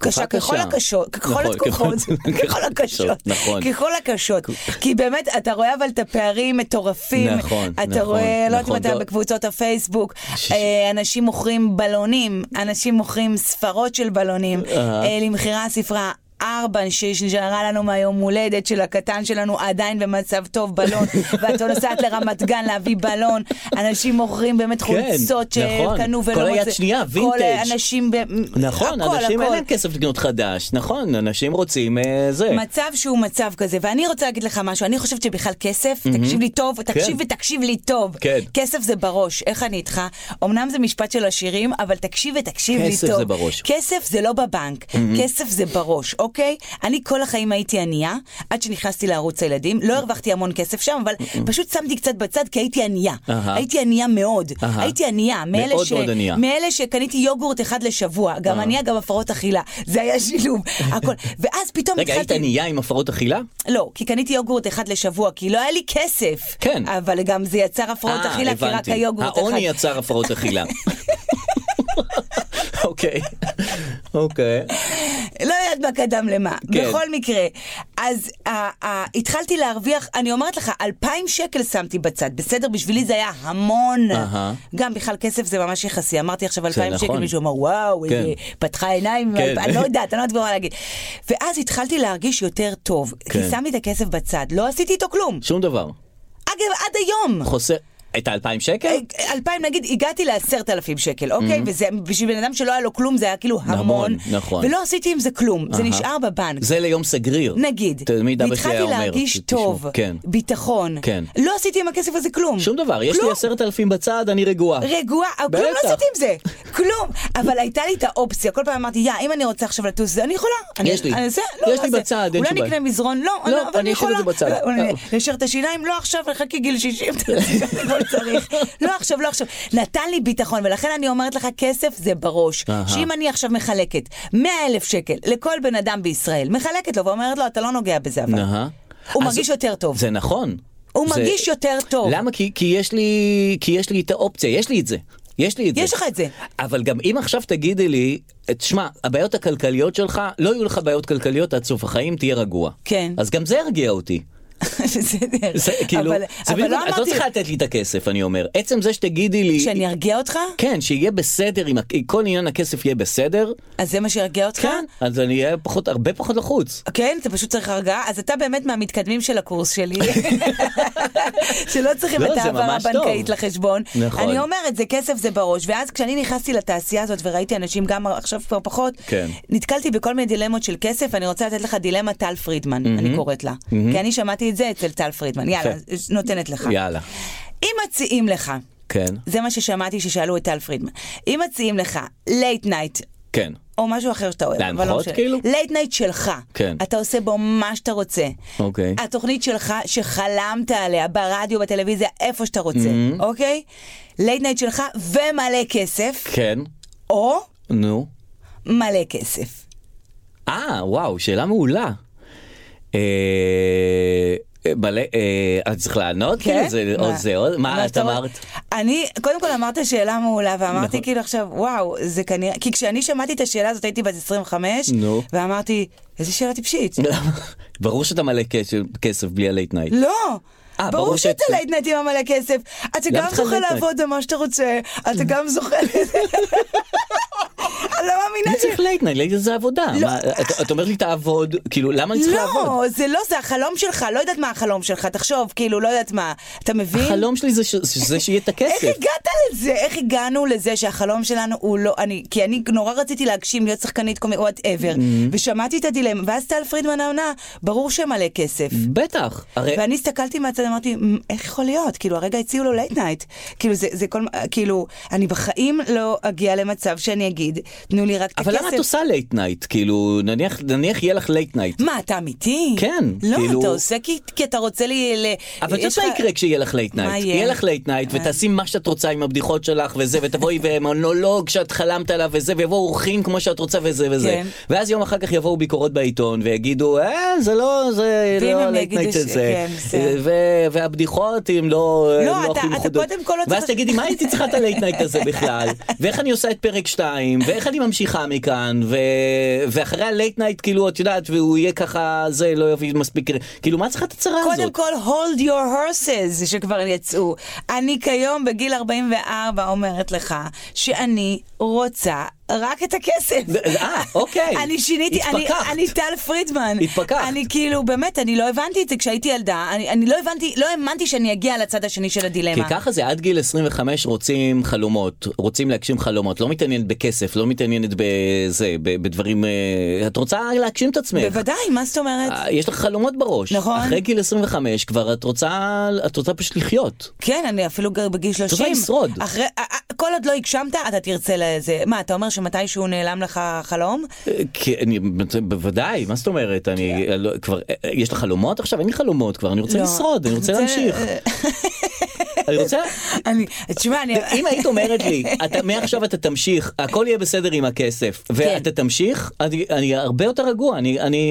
S4: קשה ככל
S3: קשה.
S4: הקשות, ככל
S3: נכון,
S4: התקופות,
S3: ככל-
S4: ככל הקשות,
S3: נכון.
S4: ככל הקשות, כי באמת אתה רואה אבל את הפערים מטורפים,
S3: נכון,
S4: אתה
S3: נכון,
S4: רואה, לא יודעת אם
S3: נכון,
S4: אתה
S3: לא-
S4: בקבוצות הפייסבוק,
S3: ש-
S4: אה, אנשים מוכרים בלונים, אנשים מוכרים ספרות של בלונים,
S3: אה.
S4: אה, למכירה ספרה. ארבע שנשארה לנו מהיום הולדת של הקטן שלנו עדיין במצב טוב בלון ואת נוסעת לרמת גן להביא בלון אנשים מוכרים באמת חולצות
S3: כן, נכון.
S4: שקנו ולא
S3: כל היד
S4: מוצא-
S3: שנייה,
S4: כל אה,
S3: וינטג'.
S4: אנשים ב...
S3: נכון,
S4: הכל,
S3: אנשים אין
S4: הכל.
S3: להם כסף לקנות חדש, נכון, אנשים רוצים אה, זה.
S4: מצב שהוא מצב כזה, ואני רוצה להגיד לך משהו, אני חושבת שבכלל כסף, תקשיב לי טוב, תקשיב ותקשיב לי טוב.
S3: כן.
S4: כסף זה בראש, איך אני איתך? אמנם זה משפט של עשירים, אבל תקשיב ותקשיב לי טוב.
S3: כסף זה בראש.
S4: כסף זה לא בבנק, כסף זה בראש, אוקיי? אני כל החיים הייתי ענייה, עד שנכנסתי לערוץ הילדים, לא הרווחתי המון כסף שם, אבל פשוט שמתי קצת בצד, כי הייתי ענייה.
S3: אהה.
S4: הייתי ענייה מאוד.
S3: אהה.
S4: הייתי ענייה, מאלה
S3: מאוד
S4: ש...
S3: מאוד ענייה.
S4: מאלה שקניתי יוגורט אחד לשבוע, גם
S3: אה.
S4: ענייה, גם הפרעות אכילה. זה היה שילוב, הכל. ואז פתאום
S3: רגע, היית
S4: התחלתי...
S3: ענייה עם הפרעות אכילה?
S4: לא, כי קניתי יוגורט אחד לשבוע, כי לא היה לי כסף.
S3: כן.
S4: אבל גם זה יצר הפרעות
S3: אה,
S4: אכילה, כי רק
S3: הבנתי.
S4: היוגורט אחד.
S3: העוני יצר הפרעות אכילה. אוקיי, אוקיי.
S4: לא יודעת מה קדם למה.
S3: כן.
S4: בכל מקרה, אז uh, uh, התחלתי להרוויח, אני אומרת לך, אלפיים שקל שמתי בצד, בסדר? בשבילי זה היה המון.
S3: אהה.
S4: גם בכלל כסף זה ממש יחסי, אמרתי עכשיו
S3: זה
S4: אלפיים שקל,
S3: נכון.
S4: מישהו אמר, וואו,
S3: כן.
S4: איזה, פתחה עיניים,
S3: כן.
S4: אני לא יודעת, אני לא יודעת מה להגיד. ואז התחלתי להרגיש יותר טוב, כי
S3: כן.
S4: שמתי את הכסף בצד, לא עשיתי איתו כלום.
S3: שום דבר.
S4: אגב, עד היום.
S3: חוסר... את האלפיים
S4: אה,
S3: שקל?
S4: אלפיים נגיד הגעתי לעשרת אלפים שקל אוקיי וזה בשביל בן אדם שלא היה לו כלום זה היה כאילו המון
S3: נכון.
S4: ולא עשיתי עם זה כלום זה
S3: אהה.
S4: נשאר בבנק.
S3: זה ליום סגריר.
S4: נגיד,
S3: תמיד אבא שלי היה
S4: והתחלתי
S3: אומר.
S4: להרגיש
S3: תשמעו,
S4: טוב,
S3: כן.
S4: ביטחון,
S3: כן.
S4: לא עשיתי עם הכסף הזה כלום.
S3: Mm. שום דבר, יש
S4: כלום.
S3: לי עשרת אלפים בצד, אני רגועה.
S4: רגועה, אבל כלום לא
S3: בטח.
S4: עשיתי עם זה, כלום. אבל הייתה לי את האופציה, כל פעם אמרתי, יא, אם אני רוצה עכשיו לטוס, אני יכולה. אני-
S3: יש לי.
S4: אני אעשה, לא
S3: יש לי
S4: אעשה.
S3: בצד, אין
S4: אולי
S3: שום
S4: נקנה
S3: בעיה.
S4: מזרון, לא,
S3: לא,
S4: אבל אני
S3: אני אשאיר את
S4: יכולה. אה,
S3: זה בצד. אה.
S4: אולי לשיר את השיניים, לא עכשיו, חכי גיל 60, תעשי כמו שצריך. לא עכשיו, לא עכשיו. נתן לי ביטחון, ולכן אני אומרת לך, כסף זה בראש.
S3: אהה.
S4: שאם אני עכשיו מחלקת 100 אלף שקל לכל בן אדם בישראל, מחלקת לו ואומרת לו, אתה לא נוגע בזה אבל.
S3: אהה.
S4: הוא
S3: אז-
S4: מרגיש יותר טוב.
S3: זה נכון.
S4: הוא
S3: זה-
S4: מרגיש יותר טוב.
S3: למה? כי כי יש לי כי יש לי את האופציה, יש לי את זה. יש לי את זה.
S4: יש לך את זה.
S3: אבל גם אם עכשיו תגידי לי, תשמע, הבעיות הכלכליות שלך, לא יהיו לך בעיות כלכליות עד סוף החיים, תהיה רגוע.
S4: כן.
S3: אז גם זה ירגיע אותי.
S4: בסדר.
S3: זה כאילו,
S4: אבל-
S3: זה
S4: אבל
S3: בדיוק,
S4: לא
S3: את לא
S4: אמרתי,
S3: צריכה לתת לי את הכסף, אני אומר. עצם זה שתגידי לי...
S4: שאני ארגיע אותך?
S3: כן, שיהיה בסדר, עם ה- כל עניין הכסף יהיה בסדר,
S4: אז זה מה שירגיע אותך?
S3: כן, אז אני אהיה פחות, הרבה פחות לחוץ.
S4: כן, אתה פשוט צריך הרגעה, אז אתה באמת מהמתקדמים של הקורס שלי, שלא צריכים
S3: לא,
S4: את
S3: זה
S4: ההעברה
S3: ממש
S4: הבנקאית
S3: טוב.
S4: לחשבון.
S3: נכון.
S4: אני אומרת, זה כסף זה בראש, ואז כשאני נכנסתי לתעשייה הזאת וראיתי אנשים, גם עכשיו כבר פחות,
S3: כן.
S4: נתקלתי בכל מיני דילמות של כסף, אני רוצה לתת לך דילמה טל פרידמן, אני קוראת לה, כי אני שמעתי את זה אצל טל פרידמן, יאללה, נותנת לך.
S3: יאללה.
S4: אם מציעים לך,
S3: כן,
S4: זה מה ששמעתי ששאלו את טל פרידמן, אם מציעים לך לייט נייט,
S3: כן.
S4: או משהו אחר שאתה אוהב. לא
S3: להנחות, כאילו?
S4: לייט נייט שלך.
S3: כן.
S4: אתה עושה בו מה שאתה רוצה.
S3: אוקיי.
S4: התוכנית שלך שחלמת עליה ברדיו, בטלוויזיה, איפה שאתה רוצה,
S3: Mm-hmm.
S4: אוקיי? לייט נייט שלך ומלא כסף,
S3: כן,
S4: או
S3: נו.
S4: מלא כסף.
S3: אה, וואו, שאלה מעולה. אה... מלא, אה, את צריך לענות? כאילו, זה או זה או מה את
S4: כן. שאתה
S3: אמרת?
S4: רוצה. אני, קודם כל אמרת שאלה מעולה, ואמרתי
S3: נכון.
S4: כאילו עכשיו, וואו, זה כנראה, כי כשאני שמעתי את השאלה הזאת הייתי בת 25,
S3: נו.
S4: ואמרתי, איזה שאלה טיפשית.
S3: ברור שאתה מלא כסף- כסף בלי הלייט נייט.
S4: לא!
S3: אה,
S4: ברור
S3: ברור
S4: שאתה
S3: שאת-
S4: לייט נייט עם המלא כסף, אתה
S3: למה
S4: גם
S3: צריך
S4: זוכה
S3: לייט נייט?
S4: לעבוד במה שאתה רוצה, אתה גם זוכה... אני לא מאמינה
S3: מי
S4: ש...
S3: צריך לייט נייט? לייט נייט זה עבודה. מה, את- את אומרת לי תעבוד, כאילו למה אני צריך לעבוד?
S4: לא, זה לא, זה החלום שלך, לא יודעת מה החלום שלך, תחשוב, כאילו, לא יודעת מה, אתה מבין?
S3: החלום שלי זה ש- שזה שיהיה את
S4: איך
S3: הכסף.
S4: הגעת לזה? איך הגענו לזה שהחלום שלנו הוא לא... אני, כי אני נורא רציתי להגשים, להיות שחקנית קומי, וואטאבר, ושמעתי את הדילמה, ואז טל פרידמן העונה, ברור שמלא כסף.
S3: בטח. הרי
S4: ואני הסתכלתי מהצד, אמרתי, "מ, איך יכול להיות? כאילו, הרגע הציעו לו לייט נייט. כאילו, זה, זה כל... מ- כאילו, אני בחיים לא אגיע למצב שאני אגיד, תנו לי רק את הכסף.
S3: אבל למה את עושה לייט נייט? כאילו, נניח, נניח יהיה לך לייט נייט.
S4: מה, אתה אמיתי?
S3: כן,
S4: לא,
S3: כאילו-
S4: אתה עושה כי, כי אתה רוצה לי... ל...
S3: אבל את
S4: יש
S3: יודעת מה
S4: לך-
S3: יקרה כשיהיה לך לייט
S4: מה
S3: נייט?
S4: יהיה? אה.
S3: יהיה לך לייט נייט ותעשי מה שאת רוצה עם הבדיחות שלך וזה, ותבואי ומונולוג שאת חלמת עליו וזה, ויבואו אורחים כמו שאת רוצה וזה וזה.
S4: כן.
S3: ואז יום אחר כך יבואו ביקורות בעיתון ויגידו, אה, זה לא, זה
S4: ואם
S3: לא
S4: הם
S3: לייט
S4: יגידו
S3: נייט
S4: ש-
S3: הזה.
S4: כן, בסדר.
S3: ו- והבדיחות הם לא
S4: לא,
S3: הם
S4: אתה-
S3: הכי
S4: אתה
S3: מחודות.
S4: קודם כל לא
S3: ואז
S4: צריך-
S3: תגידי, מה הייתי צריכה את הלייט נייט הזה בכלל? ואיך אני עושה את פרק 2? ואיך אני ממשיכה מכאן? ו- ואחרי הלייט נייט, כאילו, את יודעת, והוא יהיה ככה, זה לא יביא מספיק... כאילו, מה צריכה את הצרה הזאת?
S4: קודם כל, hold your horses שכבר יצאו. אני כיום בגיל 44 אומרת לך שאני רוצה רק את הכסף.
S3: אה, אוקיי.
S4: אני שיניתי, אני,
S3: התפכחת.
S4: אני טל פרידמן.
S3: התפכחת.
S4: אני כאילו, באמת, אני לא הבנתי את זה כשהייתי ילדה. אני, אני לא הבנתי, לא האמנתי שאני אגיע לצד השני של
S3: כי
S4: הדילמה.
S3: ככה זה עד גיל 25 רוצים חלומות, רוצים להגשים חלומות, לא מתעניינת בכסף, לא מתעניינת בזה, ב- בדברים, אה, את רוצה להגשים את עצמך.
S4: בוודאי, מה זאת אומרת?
S3: אה, יש לך חלומות בראש.
S4: נכון.
S3: אחרי גיל 25 כבר את רוצה, את רוצה פשוט לחיות.
S4: כן, אני אפילו גר בגיל 30.
S3: לשרוד.
S4: אחרי, א- א- כל עוד לא הגשמת, אתה תרצה לזה. מה, אתה אומר שמתישהו נעלם לך חלום?
S3: אה, כי אני, בוודאי, מה זאת אומרת, אני, אה, לא, כבר, אה, אה, יש לך חלומות עכשיו? אין לי חלומות כבר, אני רוצה
S4: כן. לא.
S3: לשרוד, אני רוצה
S4: זה- אה,
S3: להמשיך. אני רוצה,
S4: אני, תשמע, אני...
S3: אם היית אומרת לי, אתה, מעכשיו אתה תמשיך, הכל יהיה בסדר עם הכסף,
S4: כן.
S3: ואתה תמשיך, אני, אני הרבה יותר רגוע, אני, אני,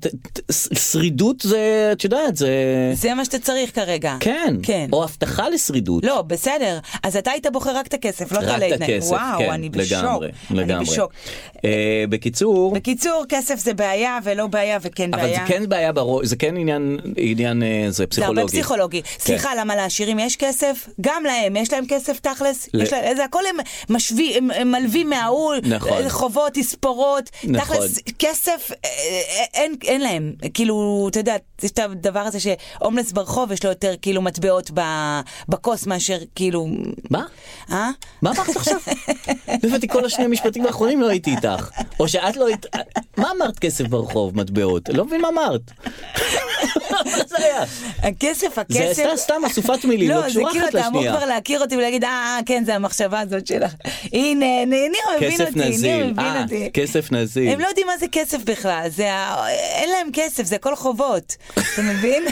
S3: ת, ת, ש- שרידות זה, את יודעת, זה,
S4: זה מה שאתה צריך כרגע.
S3: כן,
S4: כן.
S3: או הבטחה לשרידות.
S4: לא, בסדר. אז אתה היית בוחר רק את הכסף, לא את
S3: רק את
S4: הלייטנט.
S3: הכסף,
S4: וואו,
S3: כן,
S4: אני בשוק.
S3: לגמרי,
S4: אני
S3: לגמרי.
S4: בשוק.
S3: אה, בקיצור,
S4: בקיצור, כסף זה בעיה ולא בעיה וכן
S3: אבל
S4: בעיה.
S3: זה כן בעיה בראש, זה כן עניין, עניין, אה, זה
S4: זה
S3: פסיכולוגי. כן.
S4: הרבה פסיכולוגי. סליחה, למה לעשירים יש כסף? גם להם, יש להם כסף תכלס?
S3: ל-
S4: יש להם, זה הכל הם משווים, הם- הם מלווים מההוא,
S3: נכון.
S4: אה, חובות, תספורות.
S3: נכון.
S4: תכלס, כסף, אה, אה, אין- אין להם. כאילו, אתה יודע, יש את הדבר הזה שהומלס ברחוב, יש לו יותר כאילו מטבעות ב- בכוס מאשר כאילו...
S3: מה?
S4: אה?
S3: מה אמרת עכשיו? הבאתי כל השני המשפטים האחרונים לא הייתי איתך. או שאת לא היית... מה אמרת כסף ברחוב, מטבעות? אני לא מבין מה אמרת. מה זה היה?
S4: הכסף, הכסף...
S3: זה הייתה סתם אסופת מילים, לא
S4: לא, זה
S3: קשורה
S4: כאילו
S3: אחת
S4: אתה אמור
S3: לשנייה.
S4: כבר להכיר אותי ולהגיד, אה, אה, כן, זה המחשבה הזאת שלך. הנה, ניר מבין
S3: כסף
S4: אותי, ניר
S3: נזיל.
S4: מבין
S3: אה,
S4: אותי.
S3: כסף נזיל.
S4: הם לא יודעים מה זה כסף בכלל, זה ה... אין להם כסף, זה הכל חובות, אתה מבין?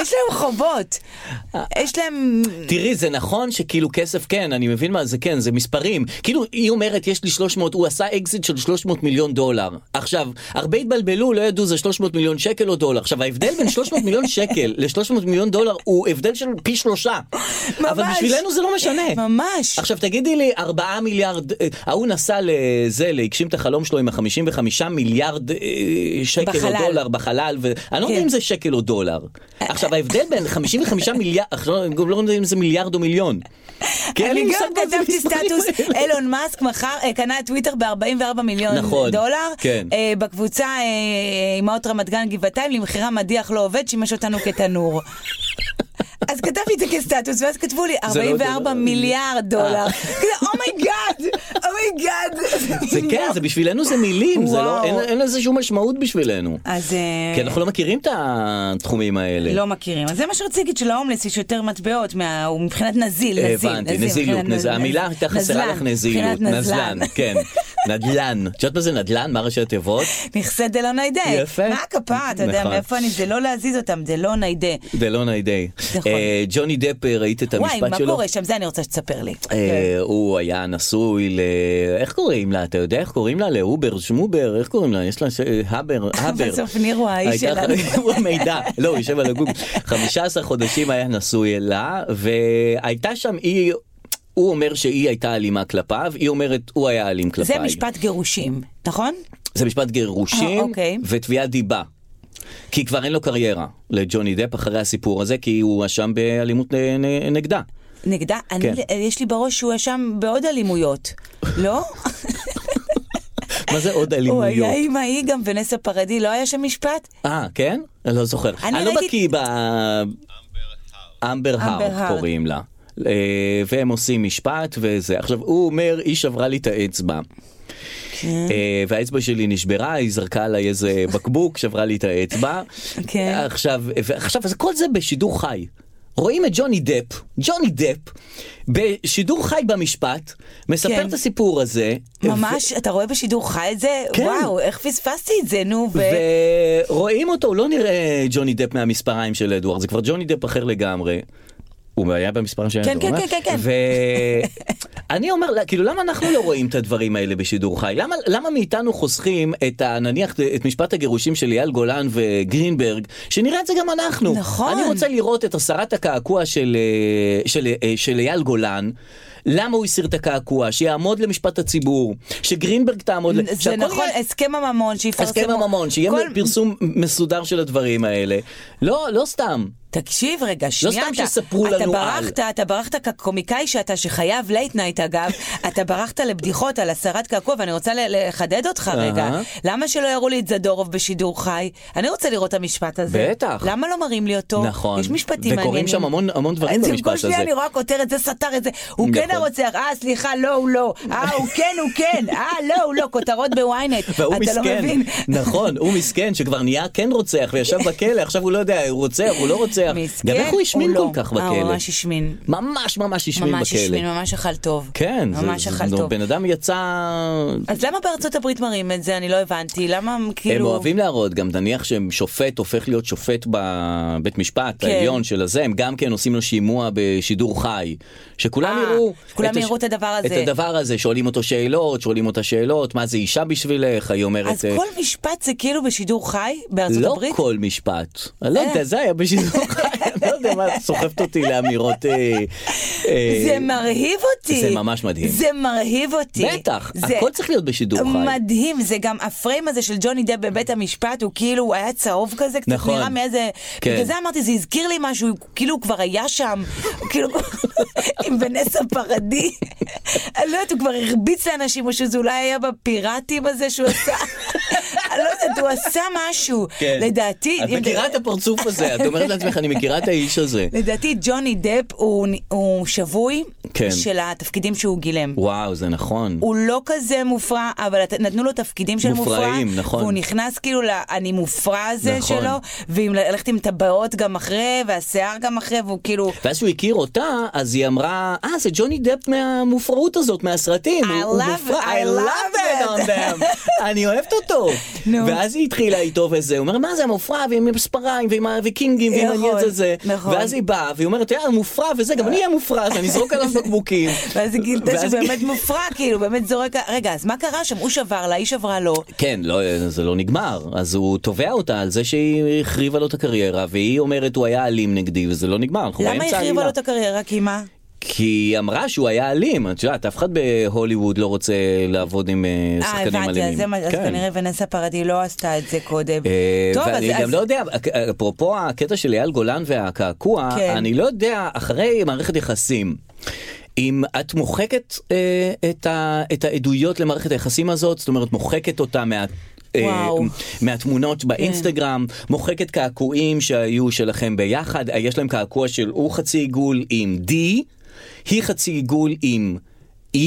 S4: יש להם חובות.
S3: אה.
S4: יש להם...
S3: תראי, זה נכון שכאילו כסף כן, אני מבין מה זה כן, זה מספרים. כאילו, היא אומרת, יש לי 300, הוא עשה אקזיט של 300 מיליון דולר. עכשיו, הרבה התבלבלו, לא ידעו זה 300 מיליון שקל או דולר. עכשיו, ההבדל בין 300 מיליון שקל ל-300 מיליון דולר הוא הבדל של פי שלושה.
S4: ממש.
S3: אבל בשבילנו זה לא משנה.
S4: ממש.
S3: עכשיו תגידי לי, 4 מיליארד, אה, ההוא נסע לזה, להגשים את החלום שלו עם ה-55 מיליארד אה, שקל
S4: בחלל.
S3: או דולר בחלל, ואני לא יודע
S4: כן. אה,
S3: אם זה שקל או דולר. עכשיו ההבדל בין 55 מיליארד, עכשיו אני גם לא יודע אם זה מיליארד או מיליון. כי אין לי
S4: אני
S3: מושג
S4: כן, גם
S3: מה זה
S4: כתבתי
S3: המספרים
S4: סטטוס,
S3: האלה.
S4: אילון מאסק מכר, אה, קנה את טוויטר ב-44 מיליון
S3: נכון,
S4: דולר.
S3: כן.
S4: אה, בקבוצה אה, אמהות רמת גן גבעתיים, למכירה מדיח לא עובד, שימש אותנו כתנור. אז כתבתי את זה כסטטוס, ואז כתבו לי
S3: זה לא
S4: 44
S3: דולר.
S4: מיליארד דולר.
S3: אה.
S4: כזה, "Oh אומייגאד, אומייגאד.
S3: זה כן, זה בשבילנו זה מילים, זה לא,
S4: לא. וואו.
S3: אין- אין לזה שום משמעות בשבילנו.
S4: אז... אה,
S3: כי אנחנו לא מכירים את התחומים האלה.
S4: לא מכירים. אז זה מה שרציתי להגיד, שלהומלס יש יותר מטבעות, מה- הוא מבחינת נזיל, נזיל.
S3: אה, הבנתי,
S4: נזיל,
S3: נזילות,
S4: מבחינת
S3: נז-
S4: נז-
S3: המילה הייתה חסרה
S4: נזלן,
S3: לך נזילות,
S4: מבחינת
S3: נזלן, כן, נדלן, את יודעת מה זה נדלן? מה ראשי התיבות?
S4: נכסי דלא ניידה.
S3: יפה.
S4: מה הכפה, אתה יודע,
S3: נכון.
S4: מאיפה אני, זה לא להזיז אותם, דלא ניידה.
S3: דלונה די.
S4: נכון.
S3: אה, ג'וני דפ, אה, ראית את
S4: וואי,
S3: המשפט
S4: מה
S3: שלו?
S4: קורה כן. שם? זה אני רוצה שתספר לי.
S3: אה, הוא היה נשוי ל... איך קוראים לה? אתה יודע איך קוראים לה? לאובר, שמובר, איך קוראים לה? יש לה ש... הבר, הבר.
S4: בסוף ניר הוא האיש
S3: הייתה-
S4: שלנו.
S3: הוא מידע, לא, הוא יושב על הגוגל. 15 חודשים היה נשוי לה, והייתה שם היא... הוא אומר שהיא הייתה אלימה כלפיו, היא אומרת הוא היה אלים כלפיי.
S4: זה משפט גירושים, נכון?
S3: זה משפט גירושים
S4: אה, אוקיי.
S3: ותביעת דיבה. כי כבר אין לו קריירה לג'וני דפ אחרי הסיפור הזה, כי הוא אשם באלימות נ- נ- נגדה.
S4: נגדה? אני- אה,
S3: כן.
S4: יש לי בראש שהוא אשם בעוד אלימויות. לא?
S3: מה זה עוד
S4: הוא היה
S3: אלימויות?
S4: עם ההיא גם ונסה פרדי, לא היה שם משפט?
S3: אה, כן? אני לא זוכר.
S4: אני
S3: אני, לא
S4: ראיתי-
S3: בקיא ב... אמבר
S4: אמבר
S3: הארד
S4: הארד.
S3: קוראים לה. אה, והם עושים משפט וזה. עכשיו, הוא אומר, היא שברה לי את האצבע.
S4: כן.
S3: אה, והאצבע שלי נשברה, היא זרקה עליי איזה בקבוק, שברה לי את האצבע.
S4: כן.
S3: עכשיו, ועכשיו, אז כל זה בשידור חי. רואים את ג'וני דפ, ג'וני דפ, בשידור חי במשפט, מספר
S4: כן.
S3: את הסיפור הזה.
S4: ממש, אתה רואה בשידור חי את זה?
S3: כן.
S4: וואו, איך פספסתי את זה, נו, ו...
S3: ורואים אותו, הוא לא נראה ג'וני דפ מהמספריים של אדוארד, זה כבר ג'וני דפ אחר לגמרי. הוא היה במספריים של
S4: כן,
S3: אדוארד.
S4: כן, כן, כן,
S3: ואני אומר, לה, כאילו, למה אנחנו לא רואים את הדברים האלה בשידור חי? למה, למה מאיתנו חוסכים את, ה, נניח, את משפט הגירושים של אייל גולן וגרינברג, שנראה את זה גם אנחנו.
S4: נכון.
S3: אני רוצה לראות את הסרת הקעקוע של, אה, של, אה, של אייל גולן. למה הוא הסיר את הקעקוע? שיעמוד למשפט הציבור, שגרינברג תעמוד... ל-
S4: זה
S3: שהכל
S4: נכון,
S3: יהיה-
S4: הסכם הממון שיפרסמו.
S3: הסכם הממון, כן, שיהיה
S4: כל-
S3: פרסום מסודר של הדברים האלה. לא, לא סתם.
S4: תקשיב רגע, שנייה,
S3: לא סתם
S4: אתה-
S3: שיספרו
S4: אתה
S3: לנו על.
S4: ברחת, אתה ברחת כקומיקאי שאתה, שחייב לייט נייט אגב, אתה ברחת לבדיחות על הסרת קעקוע, ואני רוצה ל- לחדד אותך רגע.
S3: אהה.
S4: למה שלא יראו לי את זדורוב בשידור חי? אני רוצה לראות את המשפט הזה.
S3: בטח.
S4: למה לא מראים לי אותו?
S3: נכון.
S4: יש משפטים
S3: וקורים
S4: מעניינים.
S3: שם המון- המון דברים
S4: אז
S3: במשפט
S4: כל שנייה
S3: הזה.
S4: אני רואה כותרת, זה סתר את זה, הוא כן
S3: נכון.
S4: הרוצח, אה סליחה, לא, הוא לא, אה הוא כן, הוא כן, אה לא, הוא לא, כותרות בוויינט.
S3: והוא
S4: אתה לא
S3: מסכן,
S4: מבין.
S3: נכון, הוא מסכן שכבר נהיה כן רוצח וישב בכלא, עכשיו הוא לא יודע, הוא רוצח, הוא לא רוצח.
S4: מסכן,
S3: גם איך הוא השמין
S4: או
S3: כל
S4: לא?
S3: כך
S4: אה, הוא
S3: בכלא?
S4: ממש השמין.
S3: ממש ממש השמין
S4: ממש השמין,
S3: בכלא.
S4: ממש אכל טוב.
S3: כן, זה-
S4: ממש
S3: זה-
S4: אכל
S3: נו,
S4: טוב.
S3: בן אדם יצא...
S4: אז למה בארצות הברית מראים את זה? אני לא הבנתי. למה הם כאילו...
S3: הם אוהבים להראות, גם נניח ששופט הופך להיות שופט בבית משפט
S4: כן.
S3: העליון של הזה, הם גם כן עושים לו שימוע בשידור חי, שכולם
S4: אה,
S3: יראו,
S4: כולם
S3: הש-
S4: יראו את הדבר
S3: את
S4: הזה.
S3: הדבר הזה, שואלים אותו שאלות, שואלים אותה שאלות, מה זה אישה בשבילך, היא אומרת,
S4: אז
S3: אה,
S4: כל משפט זה כאילו בשידור חי בארצות
S3: לא
S4: הברית? אה.
S3: כל משפט, אני לא יודע, זה היה בשידור חי, אני לא יודע מה, את סוחפת אותי לאמירות, אה, אה,
S4: זה מרהיב אותי.
S3: זה ממש מדהים.
S4: זה מרהיב אותי.
S3: בטח,
S4: זה
S3: הכל צריך להיות בשידור חי.
S4: מדהים, זה גם הפריים הזה של ג'וני דב בבית המשפט, הוא כאילו, הוא היה צהוב כזה, קצת
S3: נכון.
S4: נראה מאיזה...
S3: כן.
S4: בגלל זה אמרתי, זה הזכיר לי משהו, הוא כאילו הוא כבר היה שם, הוא כאילו, עם ונסה פרדי. אני לא יודעת, הוא כבר הרביץ לאנשים, או שזה אולי היה בפיראטים הזה שהוא עשה. אני לא יודעת, הוא עשה משהו.
S3: כן.
S4: לדעתי...
S3: את
S4: אם-
S3: מכירה את הפרצוף הזה, את אומרת לעצמך, אני מכירה את האיש הזה.
S4: לדעתי ג'וני דפ הוא, הוא שבוי
S3: כן.
S4: של התפקידים שהוא גילם.
S3: וואו, זה נכון.
S4: הוא לא כזה מופרע, אבל הת- נתנו לו תפקידים של מופרע.
S3: מופרעים, נכון.
S4: והוא נכנס כאילו ל"אני מופרע" הזה
S3: נכון.
S4: שלו, ועם ללכת עם טבעות גם אחרי, והשיער גם אחרי, והוא כאילו...
S3: ואז שהוא הכיר אותה, אז היא אמרה, אה, זה ג'וני דפ מהמופרעות הזאת, מהסרטים.
S4: I
S3: הוא- הוא
S4: love-
S3: מופרע."
S4: I
S3: I love
S4: love
S3: it on them. אני אוהבת אותו.
S4: נו.
S3: ואז היא התחילה איתו וזה, הוא אומר, מה זה המופרע, ועם מספריים, ועם הוויקינגים, ועם
S4: נכון,
S3: העניין הזה, זה.
S4: נכון.
S3: ואז היא באה, והיא אומרת, יאללה, מופרע וזה, גם אני אהיה מופרע, אז אני אזרוק עליו בקבוקים.
S4: ואז היא גילתה
S3: ואז
S4: שהוא באמת מופרע, כאילו, באמת זורק... רגע, אז מה קרה שם? הוא שבר לה, היא שברה לו.
S3: כן, לא, זה לא נגמר. אז הוא תובע אותה על זה שהיא החריבה לו את הקריירה, והיא אומרת, הוא היה אלים נגדי, וזה לא נגמר. אנחנו
S4: למה
S3: באמצע
S4: היא החריבה
S3: העלילה.
S4: לו את הקריירה? כי מה?
S3: כי היא אמרה שהוא היה אלים, את יודעת, אף אחד בהוליווד לא רוצה לעבוד עם אה,
S4: אה,
S3: שחקנים
S4: הבנתי, אז,
S3: אלימים.
S4: זה, מה- אז
S3: כן.
S4: כנראה ונסה פרדי לא עשתה את זה קודם.
S3: אה,
S4: טוב, אז...
S3: ואני
S4: אז...
S3: גם לא יודע, אפרופו הקטע של אייל גולן והקעקוע,
S4: כן.
S3: אני לא יודע, אחרי מערכת יחסים, אם את מוחקת אה, את ה- את העדויות למערכת היחסים הזאת, זאת אומרת מוחקת אותה מה... אה,
S4: וואו. כן.
S3: מהתמונות באינסטגרם, מוחקת קעקועים שהיו שלכם ביחד, אה, יש להם קעקוע של הוא חצי עיגול עם D, היא חצי עיגול עם E,